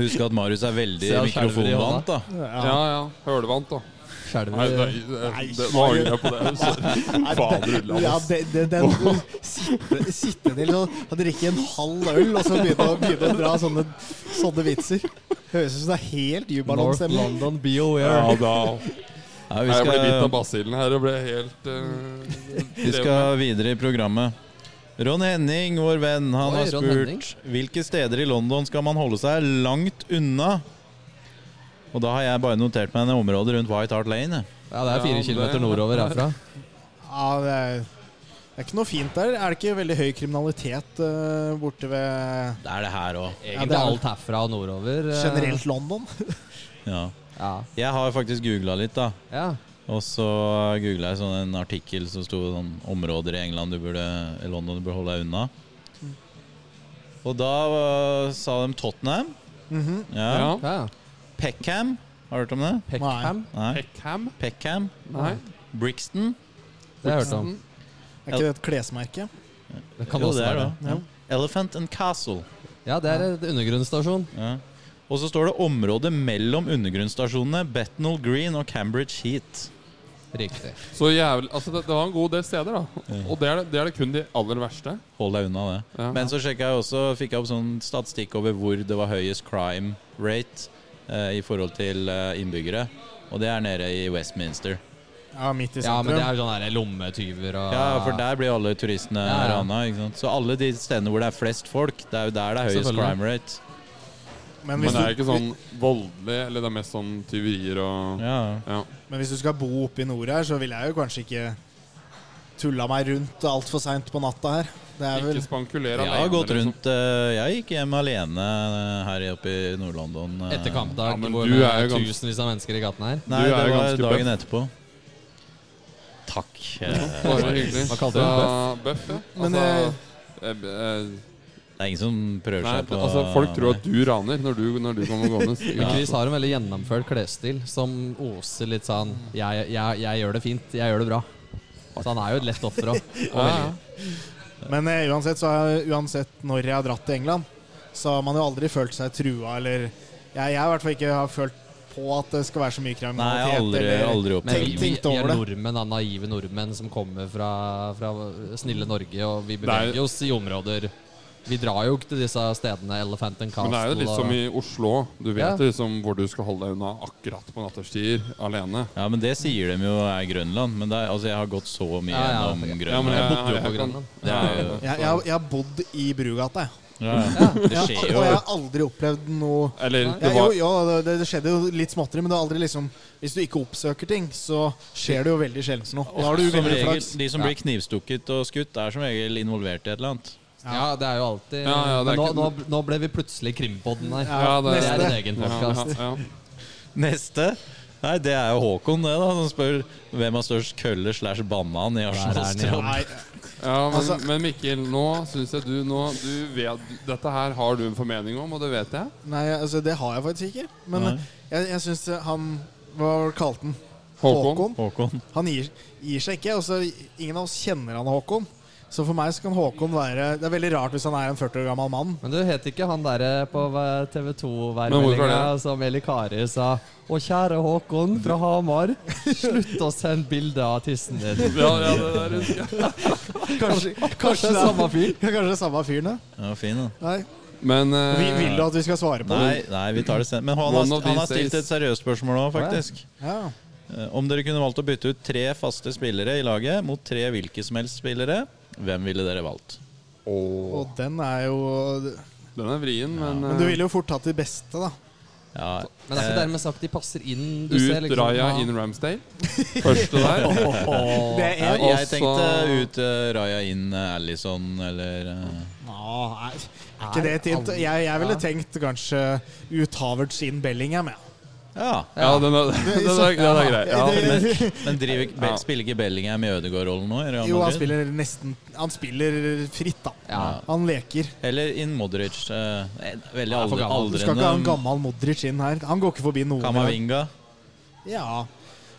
A: Husk at Marius er veldig
D: Se han skjelver i hånda.
A: mikrofonvant, da.
C: Ja, ja. Hølvant, da. Nei,
A: Eh,
D: Skjelver
C: nei, det- det- nå angrer jeg på
A: [laughs]
C: det. Sorry. Fader ulland,
B: Ja,
C: ass.
B: det, det, den sitte, sitte til og og drikke en halv øl, og så begynne å, begynne å dra sånne, sånne vitser. Høres ut som det er helt
D: North
B: jubalanse.
D: London, be aware.
C: Ja, da.
A: Nei, vi,
C: Jeg ble bitt av
A: skal,
C: basillen her og ble helt eh,
A: vi skal videre i programmet. Ron Henning, vår venn, han
D: Oi,
A: har
D: Ron Henning.
A: spurt hvilke steder i London skal man holde seg langt unna? Og da har jeg bare notert meg en område rundt White Hart Lane. jeg.
D: Ja, det
C: Ja,
D: er fire
C: det-
D: kilometer nordover herfra.
B: Ja, det er, det er ikke noe fint der. Er det ikke veldig høy kriminalitet eh, borte ved
A: Det er det her òg.
B: Ja, det
D: Egentlig
B: er-
D: alt herfra og nordover. eh,
B: generelt London?
A: Ja.
D: Ja.
A: Jeg har faktisk googla litt, da.
D: ja.
A: Og så googla jeg sånn en artikkel som sto sånn områder i England du burde, i London du burde holde deg unna. Og da øh, sa de Tottenham.
B: Mhm.
A: Ja.
C: Ja.
D: ja.
A: Peckham. Har du hørt om det?
D: Peckham.
A: Nei.
C: Peckham?
A: Peckham.
C: Nei. Mm.
A: Brixton.
D: Det har jeg hørt om.
B: Er ikke det et klesmerke?
D: Det kan
A: Jo,
D: også
A: det er
D: være.
A: det. Ja. Elephant and Castle.
D: Ja, det er et undergrunnsstasjon.
A: Ja. Og så står det området mellom undergrunnsstasjonene Bethnal Green og Cambridge Heat.
D: Riktig.
C: Så jævlig Altså, det, det var en god del steder, da. Og det er det, det er det kun de aller verste.
A: Hold deg unna det.
C: Ja.
A: Men så sjekket jeg også, fikk jeg opp sånn statistikk over hvor det var høyest crime rate eh, i forhold til eh, innbyggere. Og det er nede i Westminster.
B: Ja, midt i
D: Ja, men
B: sentrum.
D: det er jo sånne der lommetyver og
A: Ja,
C: Ah.
A: for der blir alle turistene
D: Ja, ja.
A: rana. Ikke sant? Så alle de stedene hvor det er flest folk, det er jo der det er høyest
D: Selvfølgelig.
A: crime rate.
B: Men
C: Men
B: hvis,
C: det er
B: du,
C: ikke sånn voldelig, eller det er mest sånn tyverier og
A: Ja.
C: Ja.
B: men hvis du skal bo oppe i nord her, så vil jeg jo kanskje ikke tulla meg rundt altfor seint på natta her. Det er vel
C: Ikke liksom. spankulere
A: Jeg har gått rundt eh, Jeg gikk hjem alene eh, her oppe i Nord-London. eh.
D: Etter kampdag
C: Ja, men
D: hvor
C: du
D: det
C: er
D: er
C: jo gans-
D: tusenvis av mennesker i gaten her.
A: Nei,
C: Du
A: det
C: er jo
A: var
C: ganske
A: dagen etterpå. Takk. eh,
C: Bare hyggelig.
D: Hva kalte du
C: du bøff? Ja.
B: Men,
C: Altså, eh, eh,
A: Det er ingen som prøver
C: nei,
A: seg på
C: altså, folk tror at du raner når du, når du kommer
D: [laughs]
C: gående.
D: Men Chris har en veldig gjennomført klesstil som oser litt sånn jeg, jeg, 'Jeg gjør det fint. Jeg gjør det bra'. Så han er jo et lett offer òg.
C: Ja, [laughs] ja.
B: Men eh, uansett, så har jeg, uansett når jeg har dratt til England, så har man jo aldri følt seg trua eller Jeg, jeg i hvert fall ikke har følt på at det skal være så mye
A: Nei, jeg har
B: kriminalitet.
A: aldri,
B: eller-
A: aldri opplevd
D: Men vi,
B: Tenk-
D: vi,
B: tenkt
D: vi er
B: over det.
D: nordmenn, da, naive nordmenn som kommer fra, fra snille Norge, og vi
C: Det
D: beveger
C: er-
D: oss i områder Vi drar jo ikke til disse stedene Elephant and Castle
C: Men det er jo litt som
D: og,
C: i Oslo. Du vet
D: Ja.
C: liksom hvor du skal holde deg unna akkurat på nattestider alene.
A: Ja, men det sier de jo er Grønland. Men det er, altså, jeg har gått så mye
D: Ja, ja.
A: gjennom
C: Ja, men
A: Grønland.
C: jeg,
A: Ja,
D: bodde jo på
C: Eh, jeg kan-
D: Grønland.
A: Det er jo-
B: Jeg, jeg, har- jeg har bodd i Brugata, jeg.
A: ja. Det
B: Og
A: skjer jo.
B: jeg har aldri opplevd noe
C: Eller
B: ja,
C: det
B: jo,
C: var
B: jo, det, det skjedde jo litt småtteri, men det er aldri liksom Hvis du ikke oppsøker ting, så skjer det jo veldig sjelden noe. Da har du
A: Som
B: veldig
A: regel,
B: flaks.
A: de som blir knivstukket og skutt, er som regel involvert i et eller annet.
D: Ja, det er jo alltid
C: Ja, ja, det
D: Men
C: er
D: nå, nå,
C: ikke-
D: nå ble vi plutselig Krimpodden her.
C: Ja, det
D: det,
C: er-
D: er en egen podkast.
C: Ja, ja, ja.
A: Neste? Nei, det er jo Håkon, det, da. Som spør hvem har størst kølle slash banan i
D: er den, ja.
A: Arsenal-tropp.
B: Nei,
C: Ja, men,
B: Altså-
C: men Mikkel, nå syns jeg du nå du vet, du- Dette her har du en formening om, og det vet jeg.
B: nei, altså, det har jeg faktisk ikke. Men
A: Nei.
B: jeg, jeg syns han Hva var det kalte han?
A: [laughs]
C: Håkon.
A: Håkon.
B: Han gir, gir seg ikke. og så ingen av oss kjenner han Håkon. Så for meg så kan Håkon være Det er veldig rart hvis han er en 40 år gammel
A: [laughs]
B: mann.
D: Men du het ikke han derre på TV
C: Men hvorfor
D: 2-værmeldinga som Eli Kari sa Å, kjære Håkon fra Hamar, slutt å sende bilde av tissen din.
C: Ja, ja, det der husker jeg.
B: Kanskje,
D: Kanskje det er samme fyr?
B: Ja, kanskje det er samme fyren, ja.
A: Ja, fin, da.
B: Nei.
C: Men eh,
B: Vi, vil du at vi skal svare på det?
A: Nei, nei, vi tar det senere. Men han
C: One
A: har,
C: of
A: han har
C: these
A: stilt et
C: days.
A: seriøst spørsmål òg,
D: Å, ja.
A: faktisk.
B: Ja.
A: Eh, Om dere kunne valgt å bytte ut tre faste spillere i laget mot tre hvilke som helst spillere, hvem ville dere valgt?
C: Åh,
B: Og den er jo
C: Den er vrien, men,
B: Men du ville jo fort tatt de beste, da.
A: Ja,
D: Men det er
A: eh,
D: ikke dermed sagt de passer inn. Du
C: eh, ut
D: ser liksom
C: Raja
D: ja.
C: in Ramsdale. Første der.
B: Det er
A: ja, jeg
B: en.
C: Også-
A: tenkte ut eh, Raja inn eh, Allison eller eh,
B: Nå, nei, er ikke det tint? Jeg, jeg ville tenkt kanskje ut Havertz inn Bellingham, jeg.
A: Ja.
C: Ja, den er, den er, den er grei. Ja.
B: Det-
A: Men, men driver, ikke-
C: Ja.
A: spiller ikke Bellingham i Ødegaard-rollen nå? i Real
B: Jo, han
A: Madrid?
B: spiller nesten Han spiller fritt, da.
D: Ja.
B: Han leker.
A: Eller inn Modric. eh, en veldig aldri, um,
D: for gammel.
B: Du skal ikke ha en
A: aldrende
B: gammel Modric inn her. Han går ikke forbi noen.
A: Kamavinga.
B: Ja.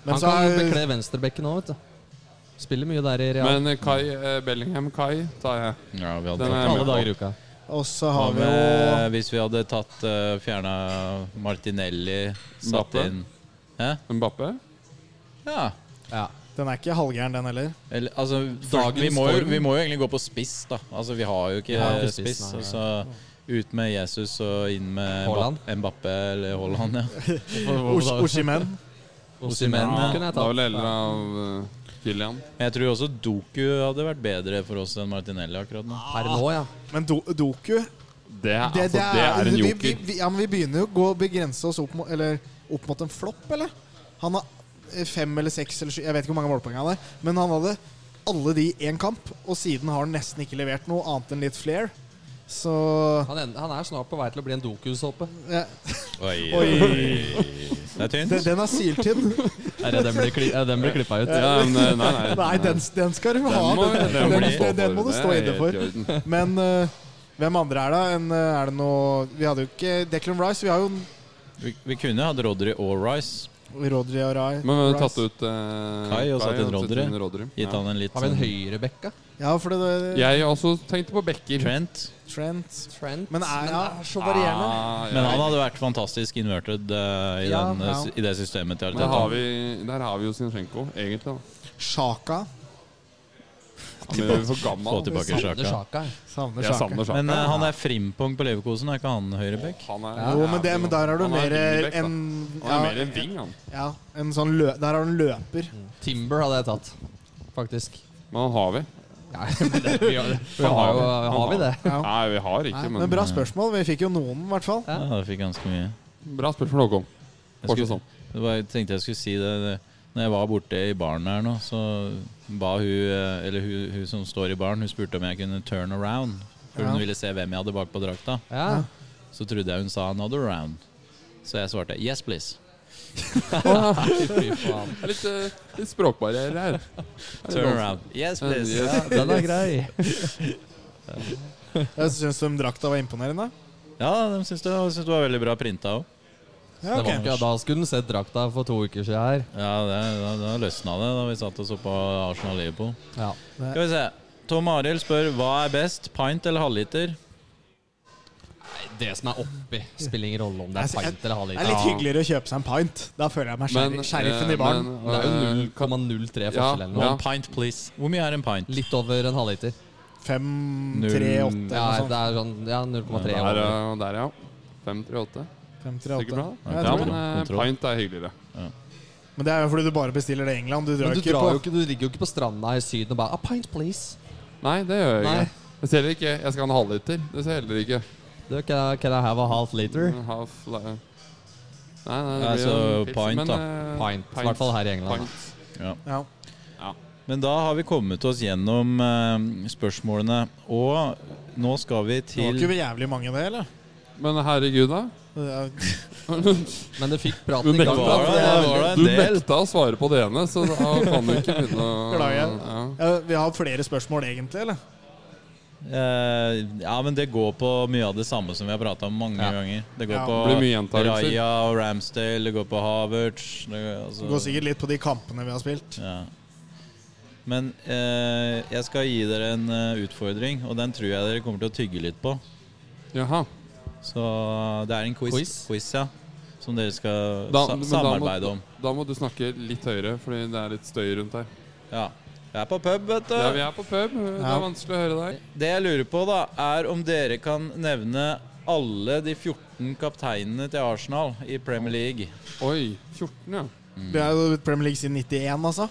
B: Men
D: Han
B: så
D: kan
B: er,
D: bekle venstrebekken òg, vet du. Spiller mye der i Real.
C: Men eh, Kai eh, Bellingham Kai tar jeg.
A: Ja, vi hadde
C: Den er
A: tatt
C: jeg
D: alle
C: med på.
D: dager i uka.
B: Og så
A: Hva
B: har vi jo
A: med hvis vi hadde tatt uh, fjerna Martinelli, satt
C: Mbappe?
A: inn Hæ?
C: Mbappe?
A: Ja.
D: Ja.
B: Den er ikke halvgæren, den heller.
A: Eller, altså,
D: Dagens
A: vi, må jo,
D: form.
A: vi må jo egentlig gå på spiss, da. Altså, vi har jo ikke
D: Vi har ikke
A: spiss.
D: spiss, nei.
A: så ut med Jesus og inn med
D: Haaland?
A: Mbapp- Mbappe eller Haaland. Ja.
B: Oshimen.
A: Osimhen,
D: Ja,
A: ja.
D: kunne jeg
C: Da
D: tatt.
C: vil jeg heller ha eh, Kylian.
A: Men Jeg tror også Doku hadde vært bedre for oss enn Martinelli akkurat nå.
D: Per nå, ja.
B: Men do, Doku det,
C: Det, er- altså, det, er en
B: vi-
C: joker.
B: Vi, vi, ja, men vi begynner jo å gå begrense oss opp mot, eller, opp mot en flopp, eller? Han har eh, fem eller seks eller sju Jeg vet ikke hvor mange målpoeng han har. Men han hadde alle de i én kamp, og siden har han nesten ikke levert noe annet enn litt flair. Så
D: Han, en- han er snart på vei til å bli en dokusåpe.
B: ja,
A: Oi,
B: Oi.
A: [laughs] Det er tynt.
B: den, den er syltynn.
D: Er det Den blir, kli, eh, den blir klippa
C: [laughs]
D: ut.
C: Ja, men, eh, nei,
B: [laughs]
C: nei.
B: Nei, den, den skal du ha.
C: Den må,
B: Den,
C: den må
B: den,
C: du stå
B: den, den må
C: for.
B: du stå
C: Det er
B: inne
C: helt
B: for.
C: i orden.
B: Men eh, hvem andre er det? En, eh, er det noe Vi hadde jo ikke Declan Rice. Vi har jo
A: Vi, vi kunne hatt Rodry og Rice.
B: Rodri og Rai.
C: Men vi har tatt
B: Rice.
C: ut eh,
A: Kai og satt inn Rodri.
C: Rodri.
A: Gitt
C: Ja.
A: han en litt
D: Har vi en
A: sånn-
D: høyrebekka?
B: Ja, for det, det
C: Jeg også tenkte på Bekker.
A: Trent.
B: Trent.
D: Trent.
B: Men er- ja.
D: det er så varierende.
C: Ah, ja.
A: Men han hadde vært fantastisk inverted eh, i,
D: Ja,
A: den,
B: ja.
A: i det systemet til
C: Men der
A: Arteta.
C: har, vi, der har vi jo Sinchenko, egentlig. da
B: Sjaka.
C: Han er jo for
A: Få
C: gammel.
A: tilbake
D: Savner
A: Sjaka.
D: Sjaka.
B: Savner
C: Jeg
B: Sjaka.
C: savner Sjaka.
A: Men eh, han er frimpong på Leverkosen, er ikke han høyrebekk?
C: Han er,
B: Jo, men, det, men der er du
C: Han
B: mer
C: wingback, da.
B: en
C: Han er mer
B: ja,
C: en ving, han.
B: ja, en sånn lø, Der har du en løper.
D: Timber hadde jeg tatt, faktisk.
C: Men han har vi.
D: Ja, [laughs] men det, vi har, vi
C: Han har
D: har, jo,
C: vi. Han
D: har
C: har
D: vi det?
B: Ja.
C: Nei, vi har ikke,
B: Nei,
C: men,
B: men bra spørsmål. Vi fikk jo noen, i hvert fall.
A: Ja, det fikk ganske mye.
C: bra spørsmål, Håkon.
A: Jeg,
C: Fortsatt
A: skulle,
C: sånn.
A: det var, jeg tenkte jeg skulle si det. det- Når jeg var borte i baren her nå, så ba hun eh, Eller hun, hun som står i baren, hun spurte om jeg kunne turn around. For
B: Ja.
A: hun ville se hvem jeg hadde bak på drakta.
D: Ja.
A: Så trodde jeg hun sa 'another round'. Så jeg svarte 'yes, please'.
D: Fy faen.
C: Det er Litt, eh, litt språkbarriere her.
A: Turn around. Yes, please.
C: Ja,
D: Den er grei.
B: Jeg syns de drakta var imponerende.
A: Ja, de syns det, og de syns det var veldig bra printa òg.
B: Ja,
D: Det var
B: ok.
D: ikke, da skulle den sett drakta for to uker siden her.
A: Ja, det, da, da løsna det da vi satt og så på Arsenal Liverpool.
D: Ja.
A: Skal vi se. Tom Arild spør hva er best, pint eller halvliter?
D: Nei, det som er oppi, spiller ingen rolle om det
B: Jeg
D: er
B: sy-
D: pint eller
B: Det
D: halvliter.
B: er litt hyggeligere å kjøpe seg en pint. Da føler jeg meg
C: Men,
B: sheriff, sheriffen
C: eh,
B: i baren.
C: men,
D: Det er jo
C: eh,
D: 0,03 forskjell
C: ja,
D: eller noe.
A: One pint, please. Hvor mye er en pint?
D: Litt over en halvliter.
B: Fem,
A: Null-
B: tre, åtte
D: Ja,
B: eller noe
D: det
B: sånt.
D: er sånn ja, 0,3
C: Der,
D: over.
C: eh, og der, ja. 538.
B: Fem, tre,
C: Sikkert bra.
B: åtte.
A: Ja,
B: Jeg
C: Ja,
B: tror
A: bra.
C: men eh,
A: Kontroll.
C: pint er hyggeligere.
B: det. Men det er jo fordi du bare bestiller det i England. Du drar
D: Men
B: jo
D: du,
B: ikke
D: drar jo
B: på
D: ikke, du ligger jo ikke på stranda i Syden og bare A pint, please.
C: Nei, det gjør jeg
D: Nei.
C: ikke. Jeg ser heller ikke Jeg skal ha en halvliter. Det ser jeg heller ikke.
D: Du, can, I, can I have a half liter?
C: En half li- Nei, nei, det
A: Ja, så
C: blir jo en pils,
A: pint,
C: men,
A: da.
C: eh,
D: Pint. I hvert fall her i England.
C: Pint.
B: ja.
A: Men da har vi kommet oss gjennom eh, spørsmålene, og nå skal vi
B: Det var
A: til
B: ikke vi jævlig mange, det, eller?
C: Men herregud, da.
B: Det er-
D: Men det fikk
C: Du
D: praten i
C: nekta,
D: gang.
A: var det,
D: da.
A: det var det en
C: du
A: del.
C: nekta å svare på det ene, så da kan du ikke begynne å
B: Klager.
C: Ja.
B: Ja, vi har flere spørsmål, egentlig, eller?
A: Eh, Ja, men det går på mye av det samme som vi har prata om mange
D: Ja.
A: ganger. Det går
B: Ja.
C: Det blir mye
A: på
C: gjentagelser.
A: Raja og Ramsdale, det går på Havertz det går, altså,
B: Det går sikkert litt på de kampene vi har spilt.
A: Ja. Men eh, jeg skal gi dere en eh, utfordring, og den tror jeg dere kommer til å tygge litt på.
C: Jaha.
A: Så det er en quiz, quiz?
D: Quiz?
A: ja, som dere skal
C: Da-
A: sa
C: men da må-
A: samarbeide om.
C: Da må du snakke litt høyere, fordi det er litt støy rundt her.
A: Ja. Jeg er på pub, vet du.
C: Ja, vi er på pub. Det
B: Ja.
C: er vanskelig å høre deg.
A: Det jeg lurer på, da, er om dere kan nevne alle de 14 kapteinene til Arsenal i Premier League.
C: Oi. 14, ja.
B: Vi er jo i Premier League siden 91, altså.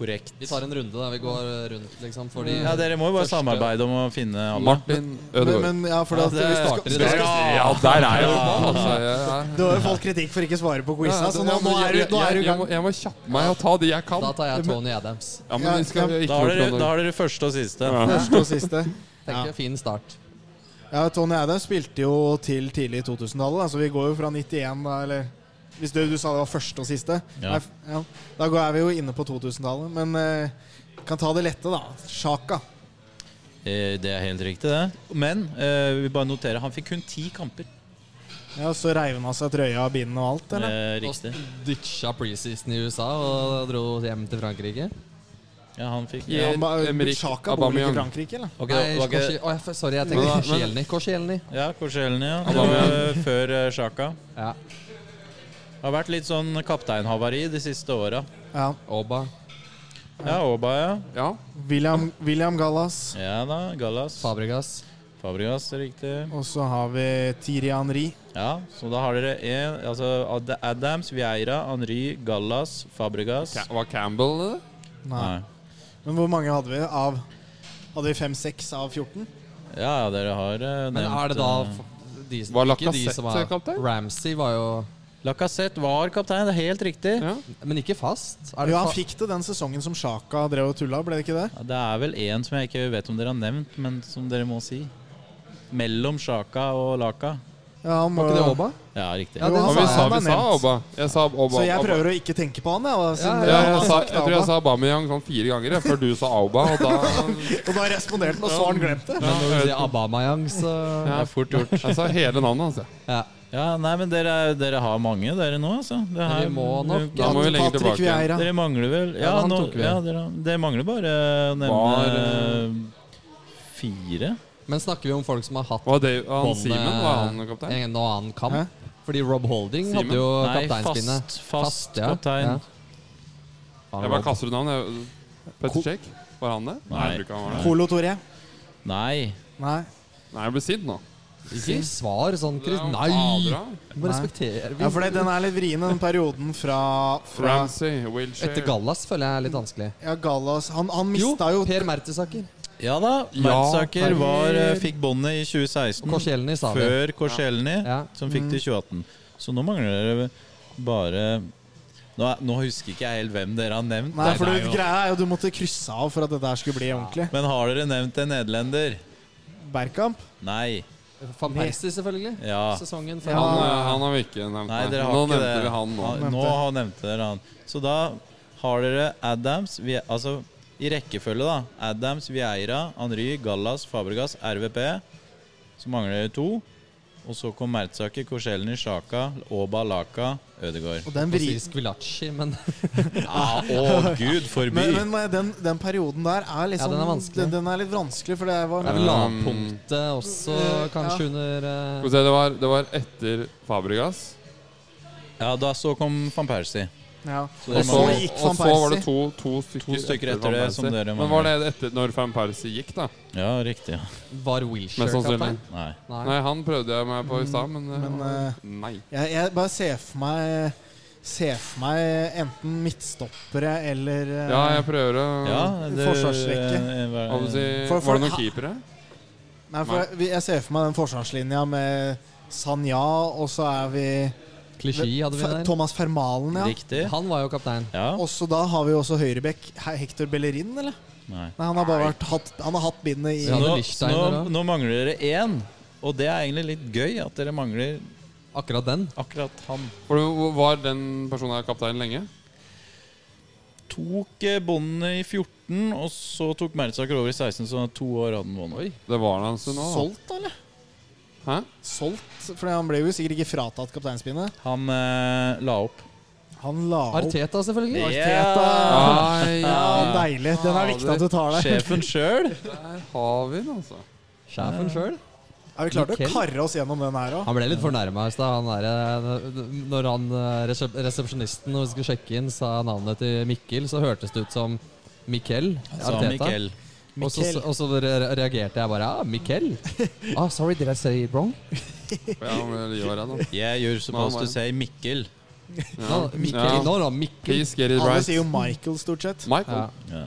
A: Korrekt.
D: Vi tar en runde, da. Vi går eh, rundt, liksom. Fordi
A: Ja, Dere må jo bare
D: Første-
A: samarbeide om å finne alle.
C: Martin
B: Men,
C: Ødegaard.
B: men ja, for
D: Ja,
B: at
D: det
B: vi
D: starter
B: skal,
D: i
B: skal,
D: dag.
C: Ja, der er jeg! Altså, jeg, jeg.
B: Du har jo fått kritikk for ikke å svare på quiza, så nå,
C: Ja,
B: nå
C: men
B: er du
C: jeg-
B: nå er
C: jeg-
B: du i
C: Jeg
B: gang.
C: må, jeg må kjappe meg og ta de jeg kan.
D: Da tar jeg Tony Adams.
C: Ja, men vi skal ikke
A: Da har,
C: gjøre
A: dere, da
C: noe.
A: har dere første og siste.
C: Ja.
B: [laughs] Første og siste. Ja.
D: Tenker, Fin start.
B: Ja, Tony Adams spilte jo til tidlig i 2000-tallet, da, så vi går jo fra 91, da, eller Hvis du, du sa det var første og siste.
A: Ja.
B: Nei, f- ja. Da går- er vi jo inne på 2000-tallet, men eh, kan ta det lette, da. Sjaka.
A: Eh, Det er helt riktig, det. Men eh, vi bare noterer han fikk kun ti kamper.
B: Ja, Så reiv han av seg trøya, binden og alt, eller?
A: Eh, riktig.
D: Og Ditcha preseason i USA og dro hjem til Frankrike.
A: Ja, han fikk
C: Ja.
B: han ba-
C: Emerick
B: Sjaka bor vel ikke
C: Aubameyang.
B: i Frankrike, eller?
A: Ok,
D: Nei,
A: var ikke-
D: Korsi- Å, jeg- sorry, jeg
C: Men
D: tenker
C: da- men-
D: Korsielny. Korsielny.
A: Ja, Korselny, ja. Det
C: Aubameyang.
A: var før eh, Sjaka.
D: Ja.
A: Det har vært litt sånn kapteinhavari de siste åra.
B: Ja.
D: Oba.
A: Ja, Åba, ja.
C: Ja.
B: William, William Gallas.
A: Ja da, Gallas.
D: Fabregas.
A: Fabregas, riktig.
B: Og så har vi Thierry Henry.
A: Ja, så da har dere en, altså Ad- Adams, Vieira, Henry, Gallas, Fabregas.
C: Ca- Var Campbell det?
B: Nei.
A: Nei.
B: Men hvor mange hadde vi av Hadde vi 5-6 av 14?
A: Ja, ja, dere har eh, nevnt
D: Men er det da
A: eh,
D: f- de,
C: Var
D: ikke de
C: Lacazette
D: som er
C: kaptein?
D: Ramsey var jo
A: Lacazette var kaptein, det er helt riktig. Ja.
C: Ja.
D: Men ikke fast. Er det
B: Jo, han
D: fa-
B: fikk det den sesongen som Sjaka drev og tulla, ble det ikke det?
A: Det er vel én som jeg ikke vet om dere har nevnt, men som dere må si. Mellom Sjaka og Laka.
B: Ja, han må
D: Var ikke det
B: jo-
D: Oba?
A: Ja, riktig.
D: Ja,
B: Jo,
D: det
C: Ja,
B: han
C: vi
B: sa-
C: sa,
B: han
C: vi
B: er
C: sa
B: nevnt.
C: Obba. Jeg sa Obba.
B: Så jeg prøver å ikke tenke på han, jeg. Da, siden
D: Ja,
C: ja,
B: han har
C: jeg, sa,
B: sagt
C: jeg tror jeg
B: Alba.
C: sa Aubameyang sånn fire ganger jeg, før du sa Auba. Og da
A: [laughs]
B: Og da responderte han, og så har han glemt det.
C: ja,
D: Når du sier Abamayang, så
A: Det er fort gjort.
C: Jeg sa hele navnet hans. jeg.
D: ja.
A: Ja, nei, men dere, er- dere har mange, dere nå, altså. Det
D: Men vi
A: er-
D: må nok-
C: Da må vi legge
B: Patrick
C: tilbake.
B: Vieira.
A: Dere mangler vel Ja,
D: Ja, han
A: nå,
D: tok vi.
A: ja dere, dere mangler bare å nevne
D: eh,
A: fire.
D: Men snakker vi om folk som har hatt
C: Var det han
D: båndet-
C: Simen? Var han kaptein?
D: en og eh, annen kamp?
B: Hæ?
D: Fordi Rob Holding
C: Simen?
D: hadde jo
A: Nei,
D: kapteinspinnet.
A: fast, fast kaptein.
D: Ja.
C: Jeg bare kaster ut navn. jeg. Petter Check? Var han det? Nei.
A: Nei.
C: jeg tror ikke han var det.
B: Polo Toré.
A: Nei.
B: Nei.
C: Nei, jeg ble sint nå.
D: Ikke svar sånn,
C: Det
D: Chris.
C: er
D: Nei!
C: Adra,
D: Du må respektere
B: Ja, for det, den er litt vrien, den perioden fra, fra
C: Ramsey, Wilshere
D: Etter Gallas føler jeg er litt vanskelig.
B: ja, Gallas Han, han mista jo
D: Per Mertesaker.
A: Ja da.
C: Ja,
A: Mertsaker
C: Per-
A: var, eh, fikk båndet i 2016.
D: Og Korsielny sa vi.
A: Før Korselny,
D: Ja.
A: som fikk det i 2018. Så nå mangler dere bare Nå, er- nå husker ikke jeg helt hvem dere har nevnt.
B: Nei,
A: da.
B: for du,
D: det er jo-
B: greia er jo du måtte krysse av for at dette her skulle bli ordentlig.
A: Men har dere nevnt en nederlender?
B: Bergkamp?
A: Nei.
D: Van Persie, selvfølgelig.
A: Ja.
D: Sesongen
B: Ja.
D: før.
C: Han,
D: han-
C: eh, han har vi ikke nevnt.
A: Ah. Nei,
C: nei.
A: dere har
C: nå
A: ikke
C: nevnte
A: det.
C: vi han nå.
A: Han- nå har nevnte dere han. Så da har dere Adams vi, Altså i rekkefølge, da. Adams, Vieira, Henry, Gallas, Fabregas, RVP. Så mangler dere to. Og så kom Mertsaker, Korselny, Sjaka, Oba, Laka, Ødegaard.
B: Og den
D: Nå
B: vri...
D: sier Skvilacci, men
A: [laughs] Ja, å gud forby!
B: Men, men nei, den, den perioden der er liksom
D: Ja, den er vanskelig.
B: Den, den er litt vanskelig, for det var
D: er
C: Ja.
D: det lavpunktet også kanskje under eh,
C: Um, Skal vi se, det var, det var etter Fabregas.
A: ja, da så kom van Persie.
B: ja.
A: Så
C: Og
A: dere
C: så,
A: mangler
B: gikk
C: og
B: Van
C: så var det
B: Persie.
C: to, to, stykker,
A: To stykker etter
C: Van
A: det
C: Persie.
A: som dere
C: Men var det etter når Van Persie gikk, da?
A: Ja, riktig. ja.
D: Var
C: Mest sannsynlig.
D: Wilshere-kaptein?
A: Nei.
D: Nei.
C: Nei, han prøvde jeg meg på i stad, men, eh,
B: Men, eh,
C: Nei.
B: Jeg, jeg bare ser for meg Ser for meg enten midtstoppere eller eh,
C: Ja, jeg prøver å
A: Ja, det,
B: Forsvarsrekke.
A: eh, hva-
C: Hva må du si,
B: For- for-
C: Var det noen keepere?
B: Nei, for jeg, jeg ser for meg den forsvarslinja med Sanja, og så er vi
D: Klisjé hadde vi
B: Fe-
D: der.
B: Thomas Fermalen, ja.
A: Riktig.
D: Han var jo kaptein.
A: Ja.
B: Og så da har vi også høyrebekk He- Hector Bellerin, eller?
A: Nei.
B: Nei, han har bare vært hatt, han har hatt bindet i
D: Ja,
A: Nå,
D: det-
A: så
D: Lichtsteiner
A: nå,
D: da.
A: nå mangler dere én, og det er egentlig litt gøy at dere mangler
D: Akkurat den.
A: akkurat han.
C: For du- Var den personen her kaptein lenge?
A: Tok eh, båndet i 14, og så tok Mertsaker over i 16, så to år hadde han båndet.
C: Det var han altså nå. da.
B: Solgt, da, eller?
C: Hæ?
B: Solgt? For han ble jo sikkert ikke fratatt kapteinspinnet.
A: Han eh, la opp.
B: Han la opp
D: Arteta, selvfølgelig.
B: Arteta.
C: Ai,
B: Ja,
C: ja.
B: deilig. Den er viktig at du tar deg.
A: Sjefen sjøl.
C: Der har vi den, altså.
D: Sjefen sjøl.
B: Ja, vi klarte å
D: Mikkel.
B: karre oss gjennom den her òg.
D: Han ble litt fornærma i stad. han der, eh, Når han eh, resep- resepsjonisten når vi skulle sjekke inn, sa navnet til Mikkel, så hørtes det ut som Mikkel.
A: Sa Mikkel.
D: Og så,
B: Mikkel.
D: og så re- reagerte jeg bare Ja, Mikkel? [laughs] Ah, sorry, did I say it wrong?
C: Ja, men det gjør jeg, da.
A: Yeah, you're supposed to say Mikkel.
C: Ja.
D: No, Mikkel.
C: Ja.
D: No, no, Mikkel.
C: Please get it
B: Alle
C: right.
B: sier jo Michael, stort sett.
C: Michael.
D: Ja.
A: Ja.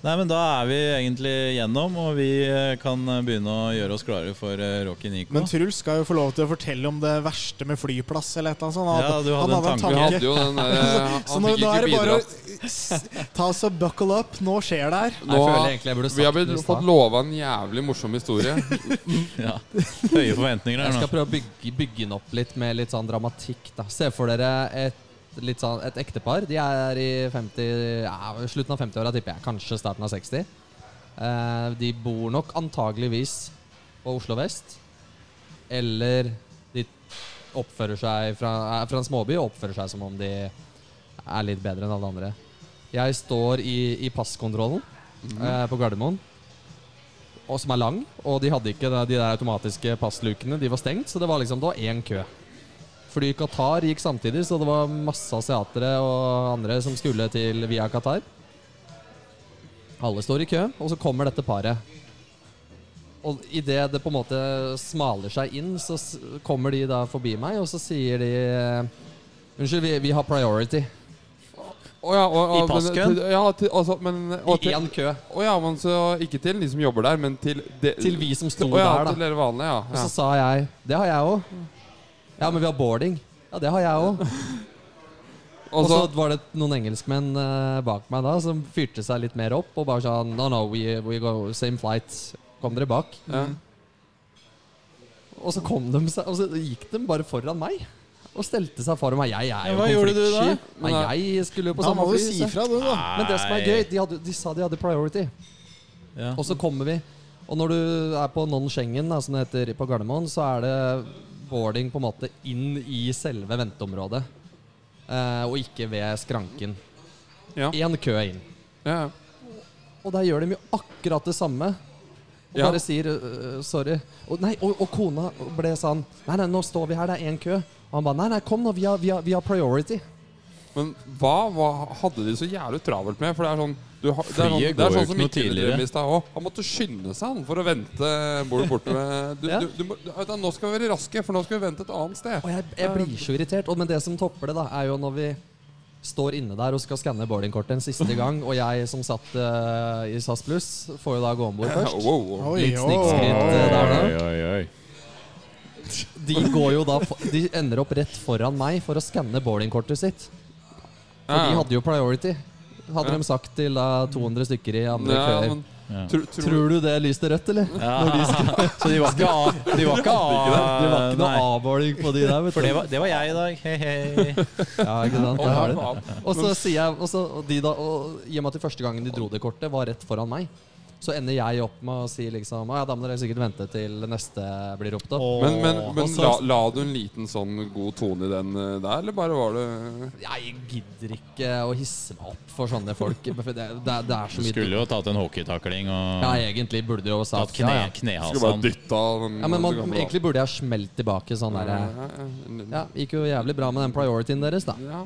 A: Nei, men da er vi egentlig gjennom, og vi eh, kan eh, begynne å gjøre oss klare for eh, Rocky Nico.
B: Men Truls skal jo få lov til å fortelle om det verste med flyplass eller et eller annet sånt. Han
A: Ja,
B: hadde-
A: du hadde
B: han
A: en tanke.
C: Vi
B: hadde en
C: hadde
B: tanke.
C: jo den der,
B: [laughs] Så
C: Han
B: nå, nå
C: fikk
B: er
C: ikke
B: det bare
C: bidratt.
B: å s- ta oss og buckle up. Nå skjer det her.
D: Nei, jeg føler egentlig jeg burde
C: vi har
D: sagt
C: blitt,
D: det i
C: fått
D: stad.
C: lova en jævlig morsom historie.
A: [laughs] Ja. Høye forventninger
D: Jeg
A: her
D: skal
A: nå.
D: prøve å bygge, bygge den opp litt med litt sånn dramatikk. da Se for dere et, litt sånn, et ektepar. De er i 50, ja, slutten av 50-åra, tipper jeg. Kanskje starten av 60. Eh, de bor nok antageligvis på Oslo vest. Eller de oppfører seg fra, er fra en småby og oppfører seg som om de er litt bedre enn alle andre. Jeg står i, i passkontrollen
A: Mhm.
D: eh, på Gardermoen, og, som er lang. Og de hadde ikke de, de der automatiske passlukene. De var stengt, så det var liksom det var én kø. Fly Qatar gikk samtidig, så det var masse asiatere og andre som skulle til via Qatar. Alle står i kø, og så kommer dette paret. Og idet det på en måte smaler seg inn, så s- kommer de da forbi meg, og så sier de Unnskyld, vi, vi har priority.
C: Å ja,
A: I
C: og, og, men-
A: passkøen?
C: til- Ja, til, altså, men
D: I
C: og til,
D: én kø.
C: Å ja, men så ikke til de som jobber der, men til de,
D: Til vi som sto
C: Å ja,
D: der,
C: Til
D: da.
C: dere vanlige,
D: Og
C: ja.
D: så sa jeg Det har jeg òg. Ja, men vi har boarding. Ja, det har jeg òg.
C: ja.
D: Og så
C: Og
D: var det noen engelskmenn eh, bak meg da som fyrte seg litt mer opp og bare sa No, no, we, we go same flight. Kom dere bak.
C: så ja.
D: Og så kom de seg Og så gikk de bare foran meg. Og stelte seg foran meg. Jeg er
A: Ja,
D: jo
A: hva gjorde du da?
D: konfliktsky. Nei, jeg skulle jo på
B: Da
D: samme
B: må du
D: fly.
B: si
D: så-
B: ifra, du, da.
D: Men det som er
A: Nei.
D: gøy, de, hadde, de sa de hadde priority.
A: Ja.
D: Og så kommer vi. Og når du er på non-Schengen, da, som det heter på Gardermoen, så er det boarding på en måte inn i selve venteområdet. Eh, og ikke ved skranken.
C: Ja.
D: Én kø inn.
C: ja.
D: Og der gjør de jo akkurat det samme. Og
C: Ja.
D: bare sier øh, sorry. Og, nei, og, og kona ble sånn Nei, nei, nå står vi her, det er én kø. Og han ba nei, nei, kom nå, vi har, vi har, vi har priority.
C: Men hva, hva hadde de så jævlig travelt med? For det er sånn du har, det er sånn,
A: Flyet
C: det
A: går
C: er
A: jo
C: sånn
A: ikke
C: som
A: noe
C: Mikkel
A: tidligere.
C: drev i stad òg. Han måtte skynde seg han, for å vente bort borte
D: [laughs]
C: ved du,
D: Ja.
C: du, du, må- vet du, Nå skal vi være raske, for nå skal vi vente et annet sted.
D: Og jeg, jeg blir så irritert. Og, men det som topper det, da, er jo når vi står inne der og skal skanne boardingkortet en
C: [laughs]
D: siste gang, og jeg som satt øh, i SAS Pluss, får jo da gå om
C: [laughs]
D: bord
C: Ja,
D: først.
C: wow, wow.
B: Oi,
D: Litt
B: oi,
D: snikskritt
B: oi.
D: eh, der, da.
A: oi, oi.
D: De går jo da for- De ender opp rett foran meg for å skanne boardingkortet sitt. For de hadde jo priority. Hadde
C: Ja.
D: de sagt til da 200 stykker i andre
C: Ja,
D: køer
C: men
A: Ja.
C: tro- tror-
D: Tror du det lyste rødt, eller?
A: Ja. [laughs] Så de var ikke av... De var ikke av...
D: Det var ikke noe
A: nei.
D: avmåling på de der. Vet
A: For det
D: du.
A: var, det var jeg i dag. Hei, hei.
D: Ja, ikke
C: [laughs]
D: sant?
C: Å,
D: Der har du det.
C: faen.
D: Og så sier jeg og så, og de da, og I og med at de første gangen de dro det kortet, var rett foran meg, så ender jeg opp med å si liksom «Å ja, da må dere sikkert vente til neste blir ropt opp.
B: Åh.
C: Men, men, men
D: Også-
C: la, la du en liten sånn god tone i den eh, der, eller bare var det
D: Jeg gidder ikke å eh, hisse meg opp for sånne folk. For det, det, det er så
A: Du
D: mye
A: skulle jo tatt en hockeytakling og
D: Ja, egentlig burde du jo
A: tatt
D: sagt
A: kne,
D: ja, ja.
C: Skulle bare
A: knehasen.
C: dytta av den
D: ja, men man,
C: gamle
D: Egentlig burde jeg smelt tilbake sånn
C: damen.
D: derre
C: Ja, ja, ja.
D: Ja, gikk jo jævlig bra med den priorityen deres, da.
C: Ja.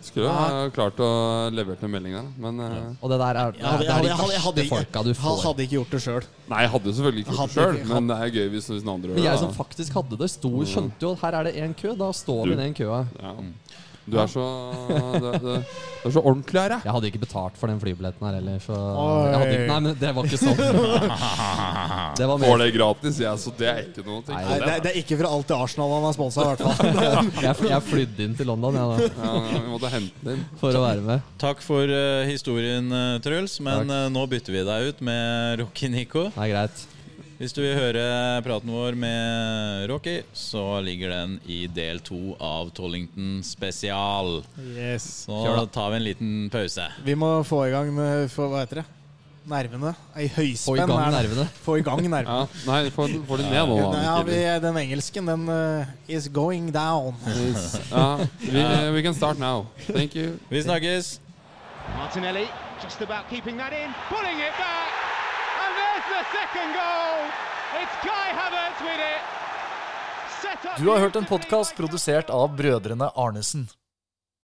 C: Skulle ha klart å levert en melding der, men eh,
D: Og det der er, det
B: Jeg hadde, jeg
D: er
B: hadde,
D: de
B: jeg hadde, jeg hadde,
D: verste folka du
B: ikke-
D: får.
B: hadde ikke gjort det sjøl.
C: Nei, jeg hadde jo selvfølgelig ikke gjort det
B: Hadde
C: sjøl,
B: ikke-
C: men det er gøy hvis hvis noen andre
D: Men jeg sånn
C: gjør
D: som
C: det.
D: faktisk hadde det, sto, skjønte jo at her er det én kø. Da står
C: Mm. Du.
D: vi i den køa.
C: da. Ja. Du er så Du er, du er så ordentlig her, jeg.
D: Jeg hadde ikke betalt for den flybilletten her heller, så
B: Oi.
D: jeg hadde ikke, Nei, men det var
C: [laughs]
D: ikke sånn. Det var
C: Får
D: mer
C: det gratis, jeg, så det er ikke noe å tenke
B: Nei,
C: på.
B: det, det er ikke fra alt til Arsenal han er sponsa, i hvert fall.
D: [laughs] jeg, fly- jeg flydde inn til London jeg, da,
C: Ja, vi måtte hente den inn.
D: for å være med.
A: Takk for eh, historien, eh, Truls, men eh, nå bytter vi deg ut med Rocky Nico.
D: Det er greit.
A: Hvis du vil høre praten vår med Rocky, så ligger den i del to av Tollington spesial.
B: Yes.
A: Så
D: Kjør da.
A: tar vi en liten pause.
B: Vi må få i gang med for, Hva heter det? Nervene? Ei
D: Få
B: høyspenn.
D: i gang
B: er det.
D: nervene.
B: Få i gang nervene.
C: Ja, nei, får den, får den ned nå, da.
B: Ja,
C: Mikkel.
B: vi, den engelsken, den eh, is going down.
C: Ja, vi, we can start now. Thank you.
A: Vi snakkes!
E: Martinelli just about keeping that in, pulling it back, and there's the second goal. It's Kai Havertz with it. Set up
F: Du har hørt en podkast produsert av brødrene Arnesen.